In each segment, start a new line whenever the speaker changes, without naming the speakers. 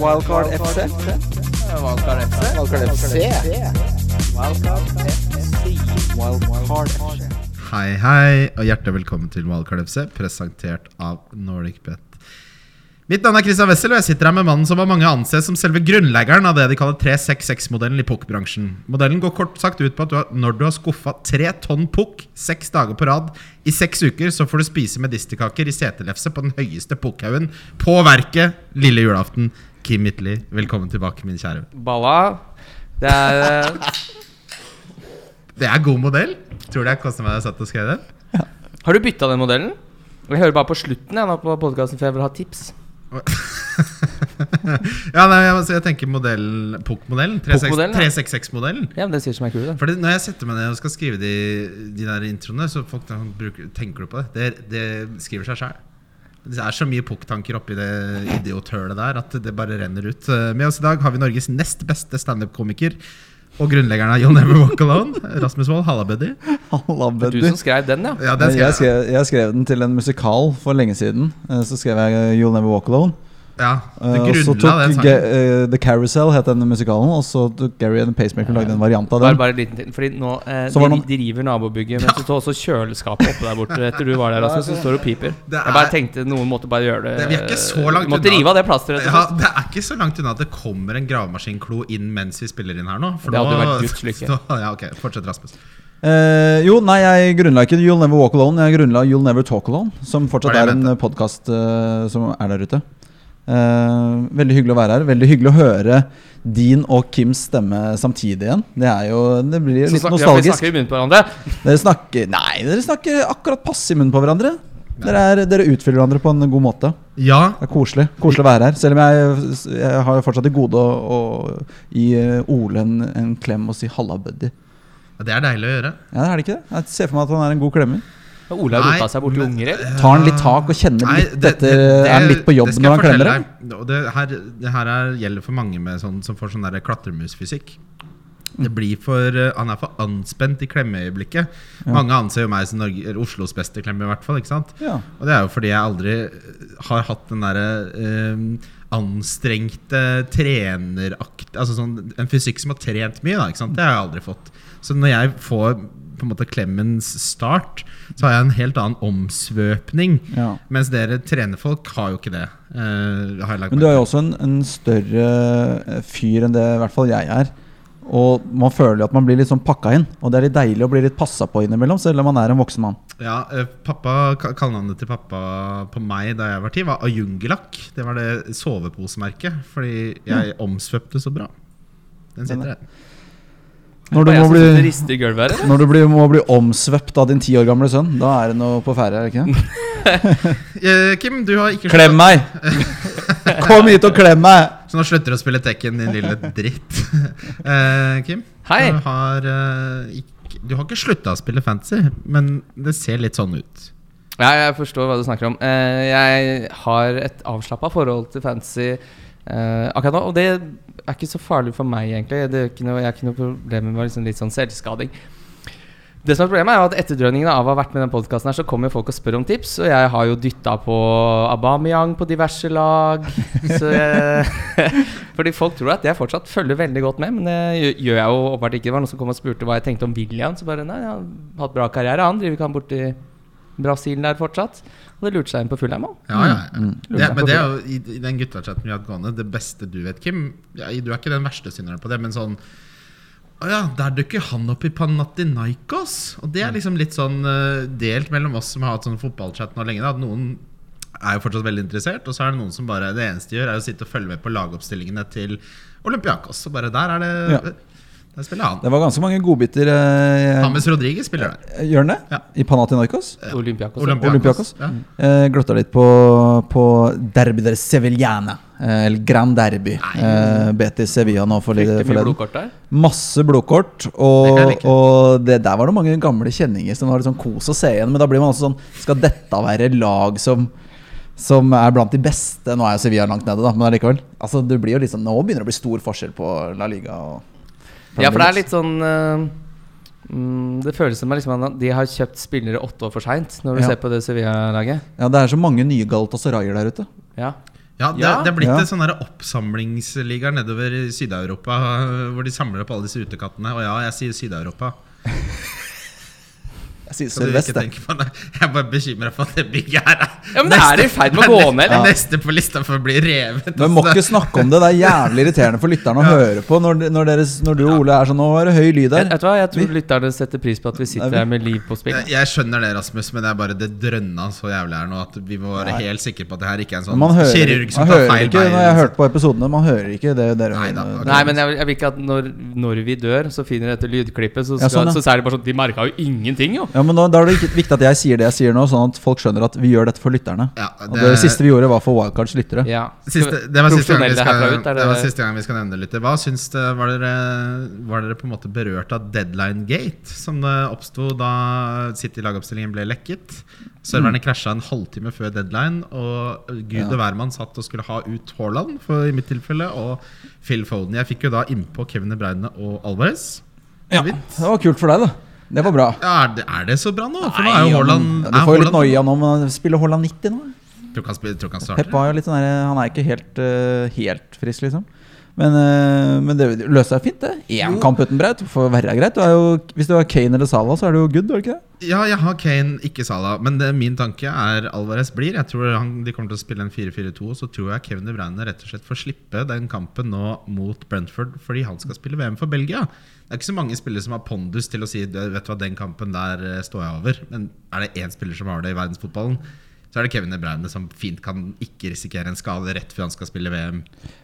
Wildcard FC.
Valgkart FC.
Wildcard FC. Wildcard FC.
Hei, hei, og hjertelig velkommen til Wildcard FC, presentert av NordicBet. Mitt navn er Christian Wessel, og jeg sitter her med mannen som av mange anses som selve grunnleggeren av det de kaller 366-modellen i pukk-bransjen. Modellen går kort sagt ut på at du har, når du har skuffa tre tonn pukk seks dager på rad i seks uker, så får du spise medisterkaker i setelefse på den høyeste pukkhaugen på verket lille julaften. Kim Midtly, velkommen tilbake, min kjære.
Balla. Det er eh,
Det er god modell. Tror du jeg koster meg å sette og skrevet den?
Har du bytta den modellen? Jeg hører bare på slutten jeg nå på podkasten, for jeg vil ha tips.
ja, nei, jeg, altså, jeg tenker modell, POK-modellen. 36-
POK-modellen, ja.
366-modellen.
Ja, men Det sier som er kul, det.
Fordi Når jeg setter meg ned og skal skrive de, de der introene, så folk da bruker, tenker du på det. Det, det skriver seg sjæl. Det er så mye POK-tanker oppi det idiothølet der at det bare renner ut. Eh, Med oss i dag har vi Norges nest beste standup-komiker og grunnleggeren av You'll Never Walk Alone, Rasmus Wold. Halla, buddy.
Halla,
Du
buddy.
som skrev den, ja.
Ja, den
Men
skrev
jeg,
jeg.
skrev, jeg skrev den til en musikal for lenge siden. Eh, Så skrev jeg eh, You'll Never Walk Alone.
Ja,
Eh,
du
Og så
grunnla den
tok Ga-
sangen.
eh, The Carousel het den musikalen, og så tok Gary and the Pacemaker lagde en variant av
Bare,
den.
bare en liten ting, fordi nå eh,
Så
de,
var det noen-
de river nabobygget, men så står også kjøleskapet oppe der borte. Etter du var der, Rasmus, så står det og piper. Jeg bare tenkte noen måtte bare gjøre det.
Det- vi er ikke så langt
Du måtte
unna.
rive av det plasteret. rett og
Ja,
slett.
det er ikke så langt unna at det kommer en gravemaskinklo inn mens vi spiller inn her nå. For
Det hadde jo
nå,
vært Guds lykke.
nå- ja, ok, Fortsett, Rasmus.
Eh, jo, nei, jeg grunnla ikke You'll Never Walk Alone. Jeg grunnla You'll Never Talk Alone, som
Hva
fortsatt
er det
er
jeg
en
mente?
podkast som er der ute. Eh, veldig hyggelig å være her. Veldig hyggelig å høre din og Kims stemme samtidig igjen. Det er jo, det blir
Så
litt
snakker, ja, vi
nostalgisk.
snakker i munnen på hverandre.
Dere snakker Nei, dere snakker akkurat passe i munnen på hverandre. Dere, er, dere utfyller hverandre på en god måte.
Ja,
Det er koselig koselig å være her. Selv om jeg, jeg har jo fortsatt til gode å, å gi eh, Ole en, en klem og si 'halla, buddy'.
det er deilig å gjøre.
Ja, Er det ikke det? Jeg ser for meg at han er en god klemmer.
Ja, Ole har
Nei,
rota seg borti
men-
unger, eller?
Tar han litt tak og kjenner
Nei,
litt etter Er midt på jobb
det skal
når han
jeg fortelle
klemmer deg?
deg. Og Det her, det her er, gjelder for mange med sånn, som får sånn der klatremusfysikk. Det blir for, eh, han er for anspent i klemmeøyeblikket. Mange anser jo meg som Norge, eller Oslos beste klemme, i hvert fall. ikke sant?
Ja.
Og det er jo fordi jeg aldri har hatt den derre eh, anstrengte trenerakt Altså sånn, en fysikk som har trent mye, da. Ikke sant? Det har jeg aldri fått. Så når jeg får på en måte klemmens start, så har jeg en helt annen omsvøpning.
Ja.
Mens dere trenerfolk har jo ikke det. eh, har jeg lagt
Men du
merke
er jo også en, en større eh, fyr enn det i hvert fall jeg er. Og man føler jo at man blir litt sånn pakka inn. Og det er litt deilig å bli litt passa på innimellom, selv om man er en voksen mann.
til. ja, eh, pappa, ka- Kallenavnet til pappa på meg da jeg var ti, var Ayungelak. Det var det soveposemerket, fordi jeg omsvøpte så bra. Den
eh,
sitter der.
Når du
Bare jeg
må
som sitter og
bli
rister i gulvet her, eller?
Når du blir, må bli omsvøpt av din ti år gamle sønn, da er det noe på ferde? er det ikke det?
Eh, Kim, du har ikke
Klem meg! Kom hit og klem meg!
Så nå slutter du å spille Tekken, din lille dritt. Eh, Kim,
Hei.
du har eh, ikk- Du har ikke slutta å spille fantasy, men det ser litt sånn ut.
Ja, jeg forstår hva du snakker om. Eh, jeg har et avslappa forhold til fantasy eh, akkurat nå. Og det er ikke så farlig for meg, egentlig. Det er ikke noe, jeg har ikke noe problem med å være liksom litt sånn selvskading. Det som er problemet er jo at Etterdrønningene av å ha vært med i den podkasten, så kommer jo folk og spør om tips. Og jeg har jo dytta på Abameyang på diverse lag. Så jeg, fordi folk tror at jeg fortsatt følger veldig godt med, men det gjø- gjør jeg jo åpenbart ikke. Det var noen som kom og spurte hva jeg tenkte om William. Så bare nei, han har hatt bra karriere, han. Driver ikke han borti Brasil der fortsatt? Og det lurte seg inn på Fulheim òg.
Ja, ja, ja.
Mm.
Det, men det er jo i, i den guttachatten vi har hatt gående, det beste du vet, Kim ja, Du er ikke den verste synderen på det, men sånn Å ja, der dukker han opp i Panathinaikos! Og det
Mm.
er liksom litt sånn eh, delt mellom oss som har hatt sånn fotballchat nå lenge, da, at noen er jo fortsatt veldig interessert, og så er det noen som bare Det eneste de gjør, er å sitte og følge med på lagoppstillingene til Olympiakos. Og bare der er det Der spiller han.
Det var ganske mange godbiter. Eh,
Hames Rodriguez spiller der.
Gjør den det?
Ja.
I Panathinaikos?
Olympiakos.
Olympiakos.
Olympiakos.
Ja.
Eh, gløtta litt på, på derby der Sevillane. Eh, eller Grand Derby. Eh, Betis Sevilla nå for
Fikk mye
forleden.
blodkort der.
Masse blodkort.
Det kan
Og,
jeg like.
og det, der var det mange gamle kjenninger som var litt sånn kos å se igjen. Men da blir man også sånn Skal dette være lag som som er blant de beste? Nå er jo Sevilla langt nede, da, men allikevel. Altså, det blir jo liksom, nå begynner det å bli stor forskjell på La Liga og
Ja, for det er litt sånn eh, mm, Det føles som at liksom, at de har kjøpt spillere åtte år for seint, når du
Ja.
ser på det Sevilla-laget.
Ja, det er så mange nye Galatasaray der ute.
Ja.
Ja, Ja, det,
Ja.
det er blitt
Ja.
en sånn der oppsamlingsliga nedover i Syd-Europa, hvor de samler opp alle disse utekattene. Og ja, jeg sier Syd-Europa.
Jeg sier
Så du ikke
Sørvest, jeg.
tenker på det. Jeg er bare bekymra for at det bygget her er
Ja, men det er i ferd med å gå ned, eller?
Neste på lista for å bli revet. altså.
Men må
Så-
ikke snakke om det. Det er jævlig irriterende for lytterne å høre på når, når, deres, når du og Ole er sånn Nå er det høy lyd
Jeg,
her.
vet du hva, jeg tror lytterne setter pris på at vi sitter
Nei, vi-
her med liv på spill.
jeg, jeg skjønner det, Rasmus, men det er bare det drønna så jævlig her nå at vi må være helt sikre på at det her ikke er en
Men
sånn
Man hører,
kirurg som
man
tar
hører
feil
ikke
vei.
Når jeg hørte på episodene, man hører ikke det dere
Nei da, ok.
Nei, men jeg, vil- jeg vil ikke at når, når vi dør, så finner dere dette lydklippet, så,
Ja,
skal,
sånn, ja.
så er det bare sånn De merka jo ingenting, jo!
Ja, men nå, Da er det ikke viktig at jeg sier det jeg sier nå, sånn at folk skjønner at vi gjør dette for lytterne.
Ja,
Og det siste vi gjorde, var for Wildcards lyttere.
Ja.
Siste, det, var siste gang vi
Profesjonelle
skal,
herfra ut,
det
er
var siste gang vi skal nevne det litt. Hva syns det, var, dere, var dere på en måte berørt av Deadline Gate, som det oppsto da City-lagoppstillingen ble lekket? Serverne
Mm.
krasja en halvtime før deadline, og eh, gud og hvermann satt og skulle ha ut Haaland, for, i mitt tilfelle, og Phil Foden. Jeg fikk jo da innpå Kevin De Bruyne og Alvarez. Så vidt.
Det var kult for deg, da. Det var bra.
Ja, er, det, er det så bra nå? For nå er jo Haaland
Ja, du
er
får jo litt
Haaland-
noia nå, men spiller Haaland 90 nå?
Tror ikke han spiller- tror ikke han starter.
Pep var jo litt sånn der, Han er ikke helt, eh, helt frisk, liksom. Men, eh, men det løser seg fint, det. Én kamp uten Braut får være greit. Du er jo, hvis du har Kane eller Salah, så er du jo good, er du ikke det?
Ja, jeg har Kane, ikke Salah. Men det, min tanke er Alvarez blir. Jeg tror han, De kommer til å spille en 4-4-2. og Så tror jeg Kevin De Bruyne rett og slett får slippe den kampen nå mot Brentford fordi han skal spille VM for Belgia. Det er ikke så mange spillere som har pondus til å si "Du, Vet du hva, den kampen der eh, står jeg over. Men er det én spiller som har det i verdensfotballen, så er det Kevin De Bruyne, som fint kan ikke risikere en skade rett før han skal spille VM.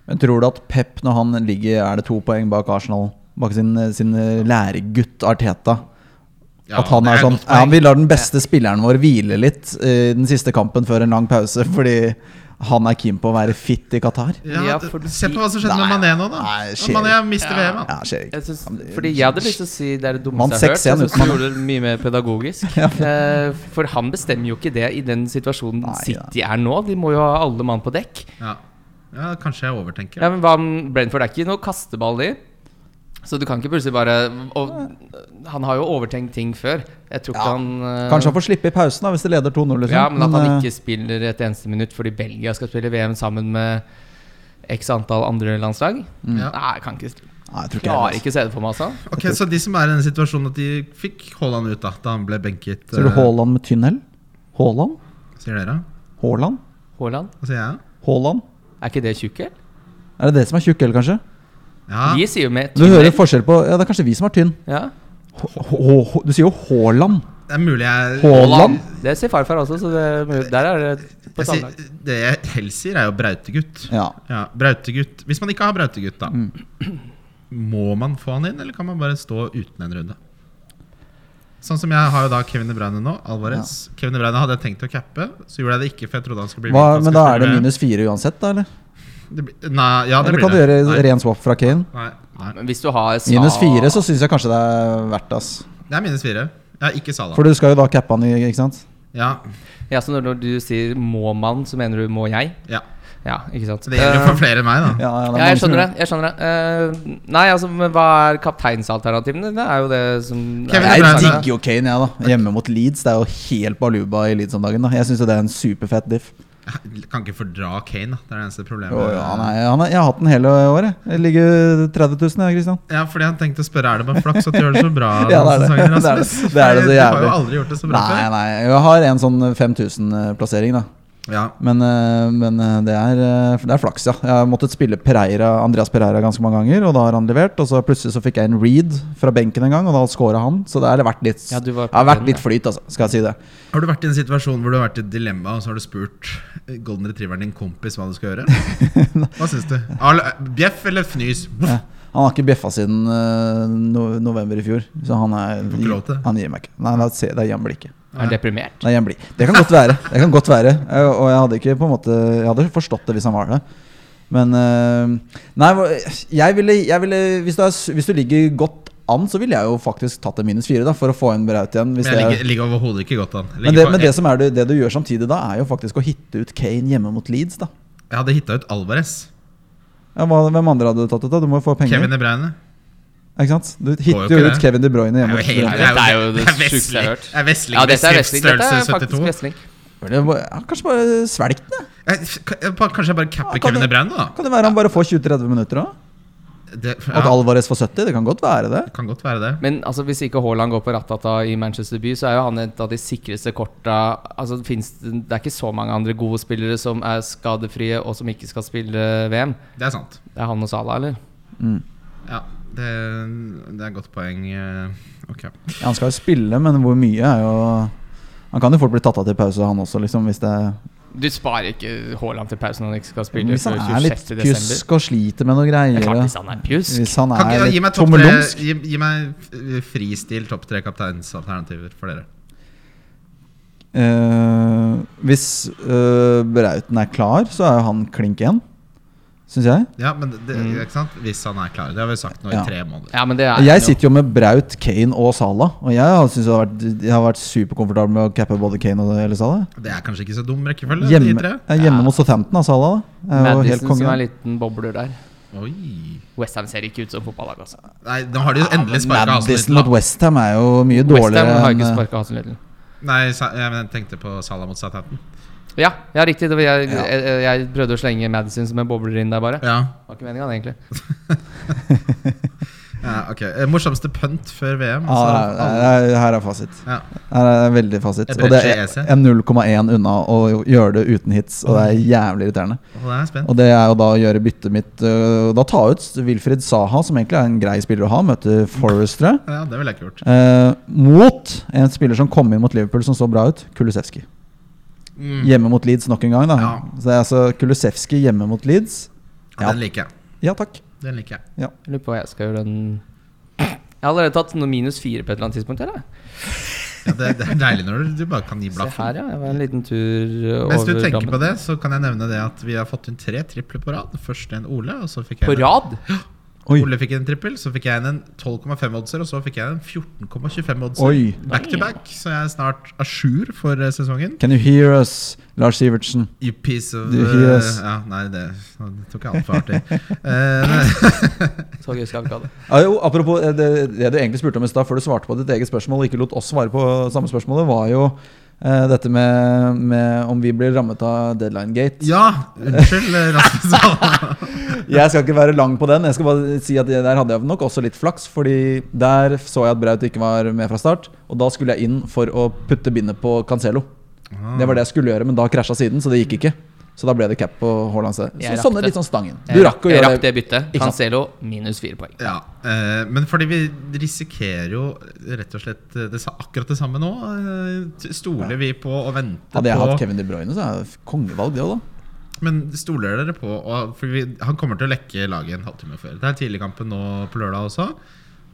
Men tror du at Pep, når han ligger Er det to poeng bak Arsenal, bak sin, sin læregutt Arteta
Ja,
At han
det
er
et
sånn
godt
ja,
poeng.
Vi lar den beste spilleren vår hvile litt eh, den siste kampen før en lang pause, fordi han er keen på å være fit i Qatar?
ja,
Ja,
d-
for-
Se på hva som skjedde med
Nei,
Mané nå, da.
nei, skjer
Mané mister
Ja.
VM. Han.
Ja, skjer ikke.
Jeg synes, fordi jeg hadde lyst til å si det er det
Vant
dummeste jeg har hørt.
6-1
Jeg synes
uten
du
han.
gjorde det mye mer pedagogisk. Eh, For han bestemmer jo ikke det i den situasjonen
Nei,
City er nå. De må jo ha alle mann på dekk.
Ja. ja, kanskje jeg overtenker.
Ja, men hva om Brentford er ikke noe kasteball i? Så du kan ikke plutselig bare og, Han har jo overtenkt ting før. Jeg tror ikke
Ja.
han eh,
Kanskje han får slippe i pausen da hvis de leder 2-0. Liksom.
Ja, men at
eh,
han ikke spiller et eneste minutt fordi Belgia skal spille VM sammen med x antall andre landslag?
Mm.
Ja.
Nei, jeg kan ikke
eh, Nei, jeg tror ikke
Klarer
jeg,
ikke å se det for meg, altså.
Ok, Så de som er i den situasjonen at de fikk Haaland ut da Da han ble benket
Ser du
eh,
Haaland med tynn L? Haaland?
Sier dere?
Haaland?
Haaland,
Hva sier jeg?
Haaland?
er ikke det tjukk L?
Er det det som er tjukk L, kanskje?
Ja,
Vi sier jo med
Ah. Du hører forskjell på Ja, det er kanskje vi som er tynn.
Ja.
H H H du sier jo Haaland.
det er mulig jeg
Haaland?
Det sier farfar også, så det, er mulig- der er det på
jeg
samme
sier, Det jeg helst sier, er jo brautegutt.
Ja. Mm.
Ja, brautegutt Hvis man ikke har brautegutt, da. Må man få han inn, eller kan man bare stå uten en runde? Sånn som jeg har jo da Kevin De Bruyne nå. Alvarez. Kevin De Bruyne hadde jeg tenkt å cappe, så gjorde jeg det ikke, for jeg trodde han skulle bli
Hva,
han
men
skulle
da er det
spille-
minus fire uansett, da? Eller,
Det blir- Nei, ja, det
eller
blir
kan du
det.
gjøre
Nei,
ren swap fra Kane?
Nei, nei.
Men hvis du har Sa-
Minus fire, så syns jeg kanskje det er verdt ass.
Det er minus fire. Ja, ikke Salah.
For du skal jo da cappe han i, ikke sant?
Ja,
Ja, så når, når du sier 'må man', så mener du 'må jeg'?
ja.
Ja, ikke sant?
Så det gjelder jo for
Eh,
flere enn meg, da.
Ja, ja, det er
ja, jeg
mange som
skjønner
gjør
det. jeg skjønner det Eh, Nei, altså, men hva er kapteinsalternativene? Det er jo det som
Kevin
Nei,
De
Jeg
Bruyne.
digger jo Kane, jeg, da. Hjemme mot Leeds. Det er jo helt baluba i Leeds om dagen. da Jeg syns det er en superfett diff.
Kan ikke fordra Kane, da. Det er det eneste problemet.
Jo, ja, han er, han er, jeg har hatt den hele året. Jeg ligger 30 000, jeg, Christian.
Ja, fordi han tenkte å spørre Er det bare flaks at du gjør det så bra.
Ja, det er det.
denne sesongen,
Det er det.
Rasmus?
Det er det så
Fordi Du har jo
jævlig.
aldri gjort det så bra
Nei,
før.
nei, jeg har en sånn 5000-plassering, da.
Ja.
Men, eh, men eh, det, er, eh, det er flaks, ja. Jeg har måttet spille Pereira, Andreas Pereira ganske mange ganger, og da har han levert. Og så plutselig så fikk jeg en read fra benken en gang, og da scora han. Så det har vært litt,
Ja, du var på
det har vært
den,
litt flyt, altså, skal jeg si det.
Har du vært i en situasjon hvor du har vært i et dilemma, og så har du spurt eh, golden retrieveren din kompis hva du skal gjøre? Hva syns du? Al- Bjeff eller fnys? Voff.
Han har ikke bjeffa siden eh, no november i fjor, så han er
får ikke lov til det.
Han gir meg ikke. Nei, det er- det er jamblikket.
Er han deprimert?
Nei, jeg blir. Det kan godt være. Det kan godt være. Eh, Og jeg hadde ikke på en måte Jeg hadde forstått det hvis han var det. Men eh, Nei, hva- jeg ville, jeg ville hvis, du er, s- hvis du ligger godt an, så ville jeg jo faktisk tatt en minus fire da, for å få en Braut igjen. Hvis
Men
det
jeg
er,
ligger, ligger overhodet ikke godt an. Jeg
men
ligger
det,
på-
men det som er det, det du gjør samtidig da, er jo faktisk å hitte ut Kane hjemme mot Leeds, da.
Jeg hadde hitta ut Alvarez.
Ja, hva, hvem andre hadde du tatt ut, da? Du må jo få penger.
Kevin De Bruyne.
Ikke sant? Du
jo
hitter
ikke
jo ut
det.
Kevin De Bruyne
Det
hjemme
er jo
mot
helt-
Leeds.
Dette er jo det
det er
sjukeste jeg har hørt.
Westling- Det er Westling
Ja, dette er
Westling
wrestling. Dette er
størrelse
faktisk
72.
wrestling.
Eller, ja, kanskje bare svelg den, jeg.
Jeg, jeg- eh, kanskje jeg bare capper
Ja, kan
Kevin
du-
De Bruyne, da?
Kan det være han bare får 20-30 minutter òg?
Det,
At
ja,
Alvarez får 70? Det kan godt være det.
kan godt være det.
Men altså, hvis ikke Haaland går på Ratata i Manchester by, så er jo han et av de sikreste korta altså, det, finnes, det er ikke så mange andre gode spillere som er skadefrie og som ikke skal spille VM.
Det er sant.
Det er han og Salah, eller?
Ja, det, det er et godt poeng. eh, Ok.
Ja, han skal jo spille, men hvor mye er jo Han kan jo fort bli tatt av til pause, han også, liksom, hvis, det,
Du sparer ikke Haaland til pausen når han ikke skal spille
hvis han
før
er litt
26. desember.
pjusk og sliter med noen greier.
Det er klart hvis han er pjusk.
Hvis han
Kan
er
ikke, gi, meg
litt
topp tre,
tommelumsk.
gi, gi meg eh, fristil topp tre kapteinsalternativer for dere.
Eh, hvis eh, Brauten er klar, så er jo han klink igjen, syns jeg.
Ja, men det, ikke sant? Hvis han er klar. Det har vi sagt nå
Mm. Ja.
i tre måneder.
Ja, men det er
Jeg
jo-
sitter jo med Braut, Kane og Salah, og jeg har- synes jeg har vært, jeg har vært superkomfortabel med å cappe både Kane og eller Salah.
Det er kanskje ikke så dum rekkefølge, de
Hjemme,
tre.
ja, hjemme mot Southampton, da, Salah. da. Er jo helt
Madison
konge.
som er en liten bobler der.
Oi.
Westham ser ikke ut som fotballag, altså.
Nei, nå har de jo endelig sparka
Madison mot Westham er jo mye
Westham
dårligere
har
enn
ikke
eh,
sparka Hasenløyden.
Nei, sa, jeg, men jeg tenkte på Salah mot Southampton.
Ja, ja, riktig. Det var jeg,
Ja.
jeg, jeg prøvde å slenge Madison som en bobler inn der, bare.
Ja.
Var ikke meningen, egentlig.
ja, ok. Eh, Morsomste pønt før VM?
eh, ja,
altså,
det
alle-
er- det er- Her er fasit.
Ja.
Her er veldig fasit.
Jeg E
Og det
brenner
er
seg i EC.
en 0,1 unna å gjøre det uten hits, og det er jævlig irriterende.
Å, da er jeg spent.
Og det er jo da å gjøre byttet mitt øh, Da ta ut Wilfried Saha, som egentlig er en grei spiller å ha, møte Forrest, tror jeg.
Ja, det ville jeg ikke gjort.
Eh, mot en spiller som kom inn mot Liverpool som så bra ut, Kulusevski.
Mm.
Hjemme mot Leeds nok en gang, da.
Ja.
Så det er altså Kulusevski hjemme mot Leeds.
Ja, den liker jeg.
Ja takk.
Den liker jeg.
Jeg lurer på hva jeg skal gjøre den Jeg har allerede tatt noe minus fire på et eller annet tidspunkt. Eller?
Ja, det, det er deilig når du, du bare kan gi
Se
blaffen.
her, ja. Jeg var en liten tur uh,
Mens du
over
tenker
dammen.
på det, så kan jeg nevne det at vi har fått inn tre tripler på rad. Først en Ole, og så fikk jeg
På rad?
Oi.
Ole fikk en trippel, så fikk jeg inn en 12,5-oddser, og så fikk jeg en 14,25-oddser.
Oi.
Back to back, så jeg er snart à jour for eh, sesongen.
Can you hear us, Lars Sivertsen?
You piece of
Du,
eh,
yes.
Ja, nei, det, nå tok jeg altfor hardt i.
Så gøy skal vi ikke ha det.
Ja, jo, apropos eh, det, det du egentlig spurte om i stad, før du svarte på ditt eget spørsmål og ikke lot oss svare på samme spørsmålet, var jo eh, dette med, med om vi blir rammet av deadline gate.
Ja, unnskyld, eh, Rasmus Hall.
Jeg skal ikke være lang på den. Jeg skal bare si at det Der hadde jeg nok også litt flaks, Fordi der så jeg at Braut ikke var med fra start. Og da skulle jeg inn for å putte bindet på Cancelo. Det var det jeg skulle gjøre, men da krasja siden, så det gikk ikke. Så da ble det cap på Haaland. Så,
Jeg rakk
sånne
det.
litt sånn stangen. Du
Jeg
rakk å
jeg
gjøre
rakk det byttet.
Ikke sant?
Cancelo minus fire poeng.
Ja, eh, men fordi vi risikerer jo rett og slett eh, det, sa- akkurat det samme nå. eh, t- Stoler vi på å vente
Hadde jeg
på
hatt Kevin De Bruyne, så er det f- kongevalg, det òg, da.
Men stoler dere på og, For vi, han kommer til å lekke laget en halvtime før. Det er tidligkampen nå på lørdag også.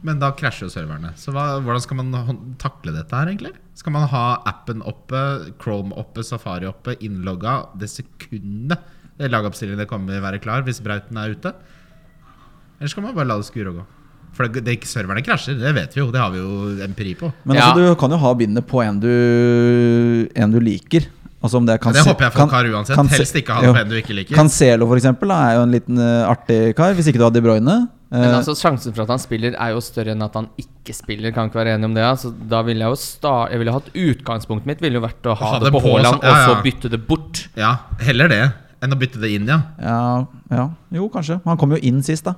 Men da krasjer jo serverne. Så hva, hvordan skal man hånd- takle dette her, egentlig? Skal man ha appen oppe, Chrome oppe, Safari oppe, innlogga det sekundet lagoppstillingene kommer være klar hvis Brauten er ute? Eller skal man bare la det skure og gå? For det, det, serverne krasjer, det vet vi jo. Det har vi jo empiri på.
Men
Ja.
altså, du kan jo ha bindet på en du, en du liker. Altså om det kan
Ja, det håper jeg folk har uansett. Helst ikke ha det på en du ikke liker.
Cancelo, for eksempel, da, er jo en liten eh, artig kar. Hvis ikke du har De Bruyne.
Men
Eh,
altså, sjansen for at han spiller, er jo større enn at han ikke spiller. Kan ikke være enig om det. Altså, da ville jeg jo sta- Jeg ville hatt Utgangspunktet mitt ville jo vært å ha, det på Haaland,
ja, ja.
og så bytte det bort.
Ja, heller det enn å bytte det inn, ja.
Ja, ja, jo kanskje. Han kom jo inn sist, da.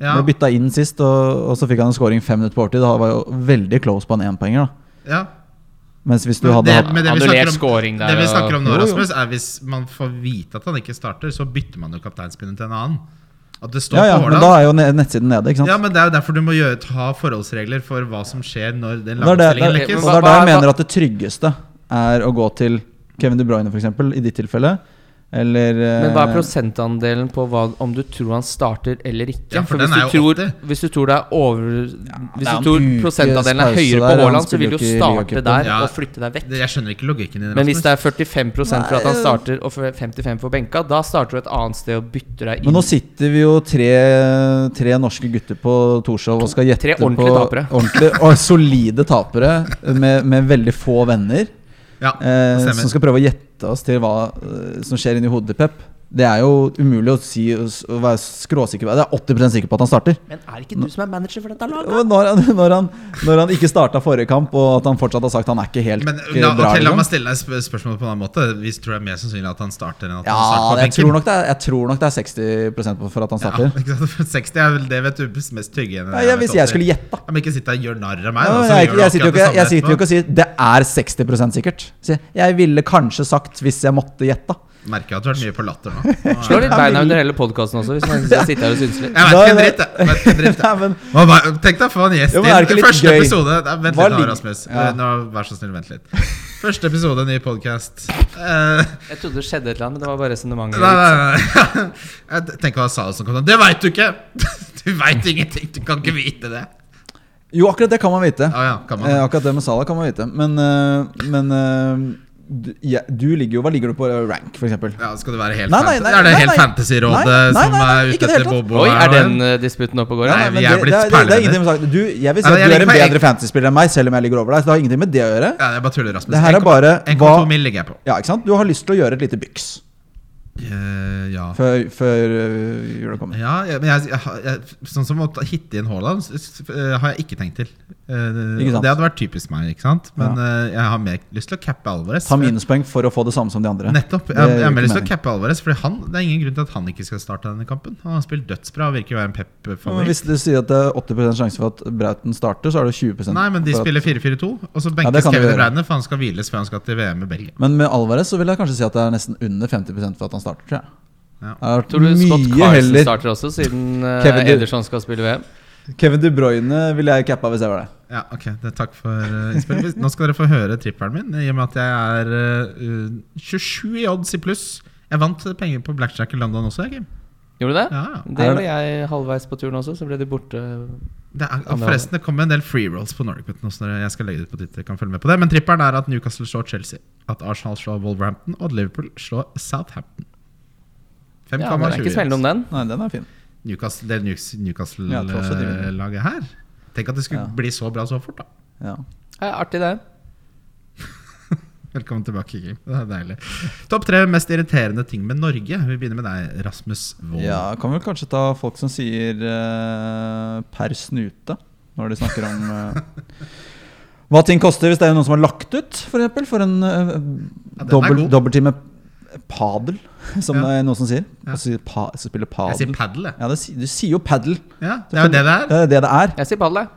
ja.
Ble bytta inn sist, og, og så fikk han en scoring fem minutter på overtid. Han var jo veldig close på en enpoenger, da.
ja.
Mens hvis du
Men
hadde
det-
hatt
men det vi
Annullert
snakker om-
scoring der,
Det vi
og-
snakker om nå,
Jo, jo.
Rasmus, er hvis man får vite at han ikke starter, så bytter man jo kapteinspinnen til en annen. At det står
Ja, ja,
på
men
Haaland.
da er jo ne- nettsiden nede, ikke sant.
ja, men det er jo derfor du må gjøre, ta forholdsregler for hva som skjer når den
Og det er der,
lagoppstillingen
og det
lekkes.
er
Hva-
lekkes.
der jeg
hva-
mener at det tryggeste er å gå til Kevin De Bruyne, f.eks., i ditt tilfelle. Eller
Men hva er
eh,
prosentandelen på hva, om du tror han starter eller ikke?
Ja, for
hvis,
den
du
er jo
tror,
80.
hvis du tror det er over Hvis
det er
du tror
en ukes
prosentandelen er
pause
høyere på
der, han
Haaland, så vil
spiller
du
jo ikke i
starte
ligacupen.
der
Ja.
og flytte deg vekk.
Jeg skjønner ikke logikken i det.
Men hvis det
Rasmus.
er 45 for at han
Nei.
starter og 55 for benka, da starter du et annet sted og bytter deg inn.
Men nå sitter vi jo tre, tre norske gutter på Torshov og skal gjette
Tre ordentlige
på
tapere.
ordentlige og solide tapere med, med veldig få venner.
ja,
Eh,
stemmer.
som skal prøve å gjette oss til hva eh, som skjer inni hodet til Pep. Det er jo umulig å, si, å være skråsikker på Jeg er 80 sikker på at han starter.
Men er det ikke du som er manager for dette laget?
Men Når han, når han, når han ikke starta forrige kamp, og at han fortsatt har sagt han er ikke helt
Men
eh,
la,
bra.
ok, la
liksom.
meg stille deg sp spørsmålet på en annen måte. Vi tror det er mer sannsynlig at han starter enn at
ja,
han starter på
jeg
benken.
tror, nok det er, jeg tror nok det er 60 på- for at han starter.
Ja, ikke sant? For 60 er vel det vet du mest trygge igjen.
Ja, jeg, hvis jeg skulle gjette, da.
ja, Men ikke sitt der og gjør narr av meg.
Ja,
Da,
men
så
jeg,
gjør
jeg,
du
sitter jo
akkurat
ikke,
det samme
jeg sitter jo
etterpå.
ikke og sier 'det er 60 sikkert'. Sier, jeg ville kanskje sagt hvis jeg måtte gjette.
Merker at du har vært mye på latter nå.
Slå litt beina under hele podkasten også, hvis man skal sitte her og synse litt.
Jeg vet ikke en
Da-
dritt, jeg. Vet ikke en dritt, jeg.
Nei, men
Hva var- Tenk deg å få en gjest
Jo, men er det ikke
inn.
litt
Første
gøy?
episode Nei, Vent
Hva
litt nå,
ligger-
Rasmus.
Ja.
Eh, Nå, vær så snill, vent litt. Første episode, ny podkast.
Jeg trodde det skjedde et eller annet, men det var bare resonnementet.
Nei, nei, nei. Jeg tenker hva sa du som kom sånn. Det veit du ikke! Du veit ingenting. Du kan ikke vite det.
Jo, akkurat det kan man vite.
Ja, ja, kan man.
Eh, akkurat det med Salah kan man vite. Men, eh, men eh, du, ja, du ligger jo Hva ligger du på eh, rank, for eksempel?
Ja, skal det være helt
Nei, nei, nei,
fantasy? Er det
nei,
helt
nei.
Fantasyrådet
Nei, nei,
som
nei,
er
nei, ikke
ute etter
det hele tatt.
Bobo?
Oi, er
her nå?
den eh, disputten oppe og går?
Nei,
Ja?
vi
men
er
det-
blitt
det, det, det
perlevenner.
er ingenting med saken. Du, jeg vil si
Nei, men jeg
at du er en
ligger på
bedre fantasy-spiller enn meg, selv om jeg ligger over deg. Så det har ingenting med det å gjøre.
Ja, jeg bare tuller, Rasmus.
Det her er
1,2
bare
1,2
hva-
mil ligger jeg på.
Ja, ikke sant? Du har lyst til å gjøre et lite byks
Eh, ja.
før, før eh, jula kommer.
ja, jeg- men jeg, jeg, har- jeg, sånn som å ta- hitte inn Haaland s- s- eh, har jeg ikke tenkt til. Eh,
Ikke
og
sant?
det hadde vært typisk meg, ikke sant? men eh, jeg har mer lyst til å cappe Alvarez.
Ta minuspoeng for å få det samme som de andre.
Nettopp.
Det
Jeg, jeg
gjør
har mer
ikke
lyst til å
mening.
cappe Alvarez, Fordi han, det er ingen grunn til at han ikke skal starte denne kampen. Han har spilt dødsbra og virker å være en
Ja, men
pep-favoritt.
Hvis du sier at det er 80 sjanse for at Brauten starter, så er det 20
Nei, men de
for at-
spiller 4-4-2, og så
Ja, det
benkes
kan de
Kevin De
gjøre.
Bruyne, for han skal hviles før han skal til VM i Belgia.
Men med Alvarez så vil jeg kanskje si at det er nesten under 50 for at han starter, tror jeg.
Ja.
Det har vært
Tror du Scott
mye
Carson
heller-
starter også, siden eh,
Kevin, du-
Ederson skal spille VM?
Kevin De Bruyne ville jeg cappa hvis jeg var det.
Ja, ok, det, Takk for uh, innspillet. Hvis- Nå skal dere få høre trippelen min, i og med at jeg er eh, uh, 27 i odds i pluss. Jeg vant penger på Blackjack i London også, jeg, Kim.
Gjorde du det?
Ja, ja.
Det
Er
var
det-
jeg halvveis på turen også, så ble de borte.
Det er, og forresten, det kommer en del free rolls på Norwegian også. når Jeg skal legge det ut på Twitter, jeg kan følge med på det. Men trippelen er at Newcastle slår Chelsea, at Arsenal slår Wolverhampton, og at Liverpool slår Southampton.
Ja, men det er
5,20
ikke smellende om den.
Nei, den er fin.
Newcastle- Det Newcastle-
Ja, jeg tror også de vinner.
Newcastle-laget her. Tenk at det skulle
Ja.
bli så bra så fort, da.
Ja.
Ja, artig, det.
Velkommen tilbake, Kim. Det er deilig. Topp tre mest irriterende ting med Norge. Vi begynner med deg, Rasmus Wold.
ja, kan vel kanskje ta folk som sier eh, per snute når de snakker om eh, hva ting koster, hvis det er noen som har lagt ut, f.eks. For, eksempel, for en uh,
Ja, den er
dobbel,
god.
dobbelttime padel, som
Ja.
det er noen som sier.
Ja.
Og så sier pa, så spiller
Jeg sier
padel.
padel, jeg.
Ja, det, si- du sier jo padel.
Ja, det er jo det det er.
Det er det det er.
Jeg sier padel, jeg.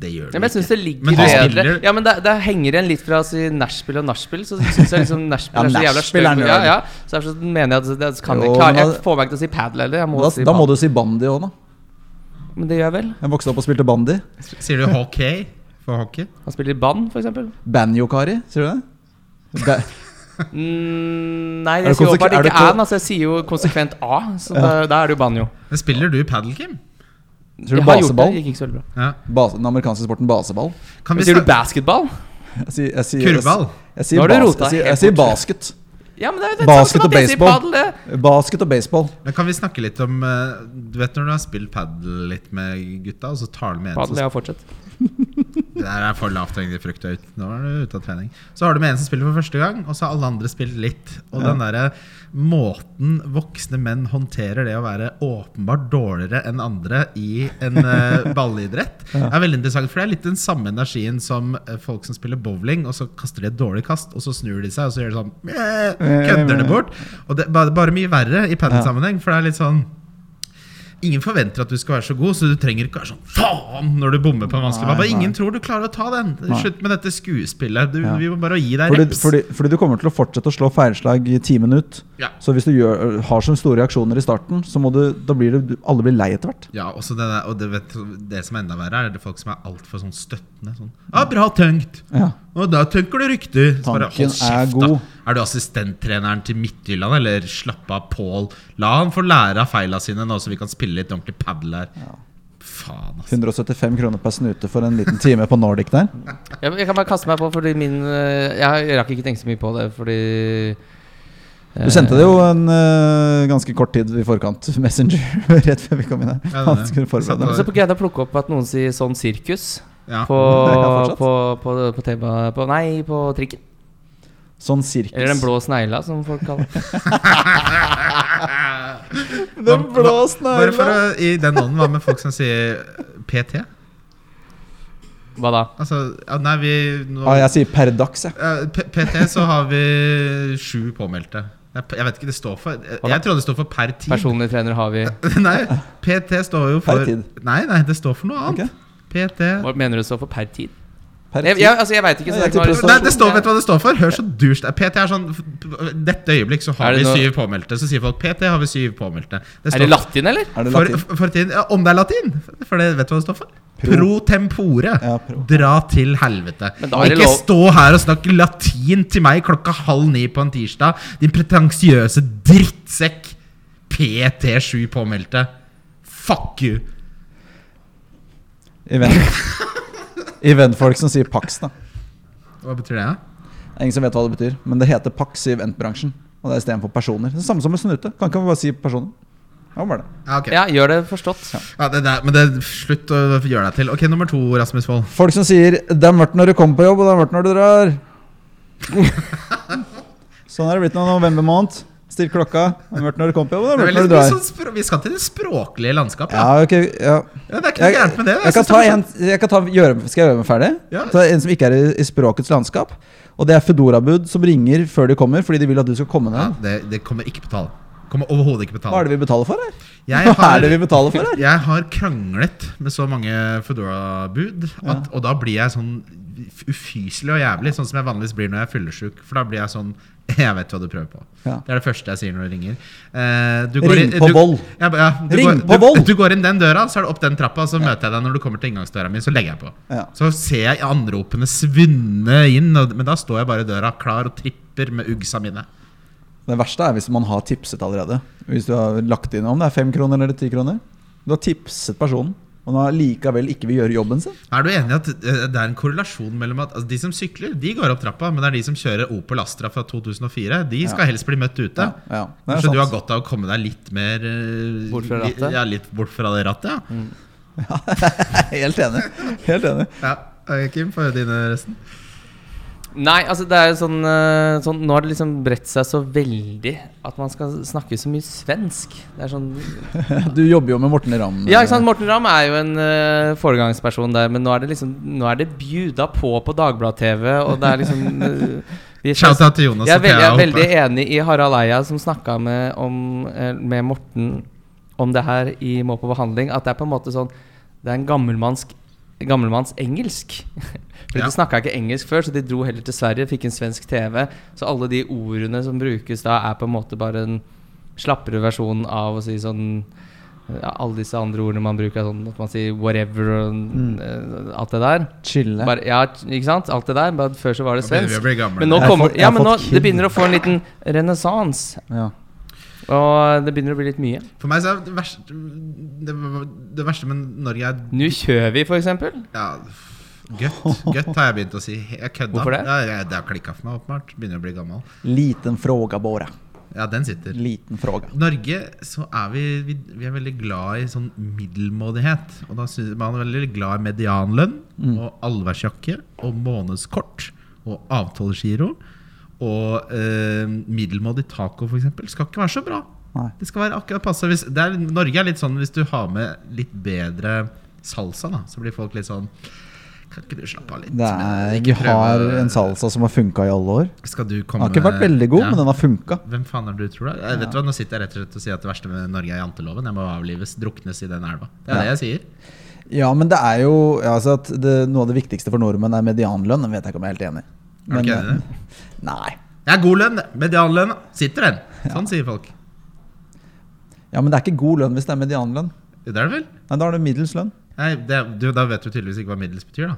Det gjør
Ja, men jeg synes det ligger
Men du
bedre
spiller-
Ja, men det, det henger igjen litt fra å si nachspiel og nachspiel. Så synes jeg liksom nachspiel
Ja,
er så jævla
nachspiel er
støv. Ja,
nerd.
ja. Så derfor så mener jeg at det det kan jeg
Jo,
klare
men
Jeg
da-
får meg ikke til å si padel heller. Jeg må
Da,
si
da må
padel.
du si bandy òg, da.
Men det gjør jeg vel.
Jeg vokste opp og spilte bandy.
Sier du hockey for hockey?
Han spiller i band, for eksempel.
Banjo-Kari, sier du det? Ba
Mm, nei,
Er
jeg
det
sier jo
konsek-
åpenbart
er det
ikke
ko-
an. Altså, jeg sier jo konsekvent A, så da, da er det jo banjo.
Men spiller du padel, Kim?
Tror du
Jeg har gjort
baseball?
Det, det gikk ikke så veldig bra.
Ja.
base, den amerikanske sporten baseball.
Kan
Men
vi
sier du
snakke
basketball?
Jeg sier, jeg sier,
Kurvball.
Jeg
Nå
sier,
har du
bas
rota
jeg sier,
helt
jeg sier
bort.
basket.
Ja, men det er jo det samme
Basket
som at
og
jeg sier
baseball.
padel. det.
Basket og baseball.
Men kan vi snakke litt om eh, Du vet når du har spilt padel litt med gutta, og så tar du med en
Padel,
som
ja, fortsett.
Det der er for lavthengende frukt. det er ut- Nå er du ute av trening. Så har du med en som spiller for første gang, og så har alle andre spilt litt. Og den derre måten voksne menn håndterer det å være åpenbart dårligere enn andre i en eh, ballidrett, er veldig interessant. For det er litt den samme energien som eh, folk som spiller bowling, og så kaster de et dårlig kast, og så snur de seg, og så gjør de sånn "Meh", Kødder det bort. Og det er bare, bare mye verre i padelsammenheng, for det er litt sånn Ingen forventer at du skal være så god, så du trenger ikke være sånn faen når du bommer på en vanskelig
Nei,
ball.
nei.
Ingen tror du klarer å ta den.
Nei.
Slutt med dette skuespillet. Du,
Ja.
Vi må bare gi deg
Fordi,
reps.
fordi, fordi du kommer til å fortsette å slå feilslag i timen ut.
Ja.
Så hvis du gjør, har så store reaksjoner i starten, så må du, da blir du, alle blir lei etter hvert.
Ja, også det, der, og det, vet, det som er enda verre, er det folk som er altfor sånn støttende. Sånn, ja, 'Bra tenkt!'
Ja.
Og da tenker du riktig. Så bare,
Tanken
hold kjeft,
er god.
da. Er du assistenttreneren til Midtjylland, eller slapp av, Pål? La han få lære av feila sine nå, så vi kan spille litt ordentlig padel her. Faen, altså.
175 kroner per snute for en liten time på Nordic der.
Jeg, jeg kan bare kaste meg på, fordi min eh, Jeg rakk ikke tenke så mye på det, fordi
Du sendte det jo en eh, ganske kort tid i forkant. Messenger, rett før vi kom inn her.
Ja, det-
Han skulle
satt
forberede
og-
meg.
Så greide jeg å plukke opp at noen sier sånn sirkus
Ja.
på,
Ja, fortsatt.
på, på, på, tema- på Nei, på trikken.
Sånn sirkus.
Eller den blå snegla, som folk kaller det.
Den blå
Bare for å,
snegla.
I den ånden, hva med folk som sier PT?
Hva da?
Altså, ja, nei, vi nå,
Ah,
Ja, Ah, jeg sier per dags, jeg.
Eh, P- PT så har vi sju påmeldte. Jeg, jeg vet ikke, det står for Jeg, jeg trodde det står for per tid.
Personlig trener har vi.
Nei, PT står jo for
Per tid.
Nei, nei, det står for noe annet.
Ok.
PT
Hva mener du så for per tid?
Per
Jeg,
tid.
jeg, altså, jeg veit ikke.
Ja, jeg
det er ikke
tipper
noe-
Nei, det står, vet du hva det står for? Hør så douche det er. PT er sånn f- Dette øyeblikk så
Er
har
det
vi
noe-
syv påmeldte. Så sier folk PT har vi syv påmeldte.
Er det latin, eller?
Er det
for,
latin?
for tiden, ja, om det er latin? For det, vet du hva det står for?
Pro.
Pro, tempore.
Ja, pro.
Dra til helvete.
Men da
Og
er det
Ikke
lov-
stå her og snakke latin til meg klokka halv ni på en tirsdag, din pretensiøse drittsekk. PT7 påmeldte. Fuck you.
Event. Eventfolk som sier Pax, da.
Hva betyr det? da?
Det er ingen som vet hva det betyr, men det heter Pax i eventbransjen. Og det er istedenfor personer. Det er samme som med snute. Kan ikke man bare si personer? Ja, bare det.
Ja, ok. ja.
Ja, gjør det forstått.
det der, men det, slutt å gjøre deg til. Ok, nummer to, Rasmus Wold.
Folk som sier 'det er mørkt når du kommer på jobb, og det er mørkt når du drar'. sånn er det blitt nå november måned. Still klokka. Det er mørkt når du kommer på jobb, og
Det
det er
er
mørkt når
veldig,
du drar.
sånn, spr- vi skal til det språklige landskapet. Ja.
Ja, ok, ja.
Ja, det er ikke noe
Jeg,
gærent med det.
jeg kan
synes
ta
det er
en, jeg kan ta, gjøre, skal jeg gjøre meg ferdig?
Ja.
Ta en som ikke er i, i språkets landskap. Og det er Foodora-bud som ringer før de kommer, fordi de vil at du skal komme
Ja,
ned.
det, det kommer ikke på tale. Kommer overhodet ikke på
Hva er
tale.
det vi betaler for her?
Jeg
Hva
har,
er det vi betaler for her?
jeg har kranglet med så mange Foodora-bud, at- og da blir jeg sånn ufyselig og jævlig, sånn som jeg vanligvis blir når jeg er fyllesyk. For da blir jeg sånn Jeg vet hva du prøver på.
Ja.
Det er det første jeg sier når du ringer. Eh, du
Ring
inn-
på
du-
Vold.
Ja, ja, du
Ring
går,
på
du,
Vold.
Du går inn den døra, så er det opp den trappa, så møter jeg deg når du kommer til inngangsdøra mi, så legger jeg på.
Ja.
Så ser jeg anropene svinne inn, og, men da står jeg bare i døra klar og tripper med uggsa mine.
Det verste er hvis man har tipset allerede. Hvis du har lagt inn om det er fem kroner eller ti kroner. Du har tipset personen, og den har likevel ikke vil gjøre jobben sin.
Er du enig i at eh, det er en korrelasjon mellom at altså, de som sykler, de går opp trappa, men det er de som kjører Opel Astra fra 2004, de skal helst bli møtt ute.
Ja, ja, det er
Så
sant.
du har godt av å komme deg litt mer eh,
Bort fra
li-
rattet? Mm.
Ja, litt bort fra det rattet, ja.
Helt enig. Helt enig.
ja. eh, Kim, få høre dine resten.
Nei, altså det er jo sånn, eh, sånn Nå har det liksom bredt seg så veldig at man skal snakke så mye svensk. Det er sånn
Du jobber jo med Morten Ramm. eh.
Ja, ikke sant? Morten Ramm er jo en eh, foregangsperson der, men nå er det liksom Nå er det bjuda på på Dagblad-TV, og det er liksom uh,
Shout out til Jonas
Jeg er
og Thea
veldig, jeg er
Hoppe.
veldig enig i Harald Eia som snakka med, om, eh, med Morten om det her i Må på behandling, at det er på en måte sånn Det er en gammelmannsk Gammelmanns engelsk. For
Ja.
De snakka ikke engelsk før, så de dro heller til Sverige, fikk en svensk TV. Så alle de ordene som brukes da, er på en måte bare en slappere versjon av å si sånn ja, Alle disse andre ordene man bruker, sånn at man sier whatever og
Mm.
eh, alt det der.
Chille.
Bare, ja, ikke sant? Alt det der. Bare at før så var det
Nå begynner vi
svensk.
å bli gamle.
Men nå
Jeg har
kommer
fått- jeg
Ja,
har
men nå
fått
Det
kid.
begynner å få en liten renessanse.
Ja.
Og det begynner å bli litt mye.
For meg så er det verste, det, det verste med Norge er
Nå kjører vi, for eksempel.
ja, Gøtt Gøtt har jeg begynt å si. Jeg kødda.
Hvorfor det?
Ja, jeg, det har klikka for meg, åpenbart. Begynner å bli gammel.
Liten fråga, Båra.
Ja, den sitter.
Liten fråga.
Norge så er vi, vi, vi er veldig glad i sånn middelmådighet. Og da synes man er veldig glad i medianlønn
Mm.
og allværsjakke og månedskort og avtalegiro. Og eh, middelmådig taco, for eksempel skal ikke være så bra.
Nei.
Det skal være akkurat passe. Hvis, det er, Norge er litt sånn hvis du har med litt bedre salsa, da, så blir folk litt sånn Kan ikke du slappe av litt?
Det er,
Men
vi
ikke
har
prøve-
en salsa som har funka i alle år.
Skal du
Den
komme
har ikke vært veldig god,
Ja.
men den har funka.
Hvem faen er det du tror det er? Jeg Vet du hva, Nå sitter jeg rett og slett og sier at det verste med Norge er janteloven. Jeg må avlives, druknes i den elva. Det er det jeg sier.
Ja, men det er jo ja, altså at det, Noe av det viktigste for nordmenn er medianlønn. Den vet jeg ikke om jeg er helt enig i. eh,
Er du ikke enig i det?
Nei.
Jeg er god lønn, medianlønn. Sitter den. Sånn sier folk.
Ja, Men det er ikke god lønn hvis det er medianlønn.
Det er det vel?
Nei, Da har du middels lønn.
Nei, det, du, da vet du tydeligvis ikke hva middels betyr, da.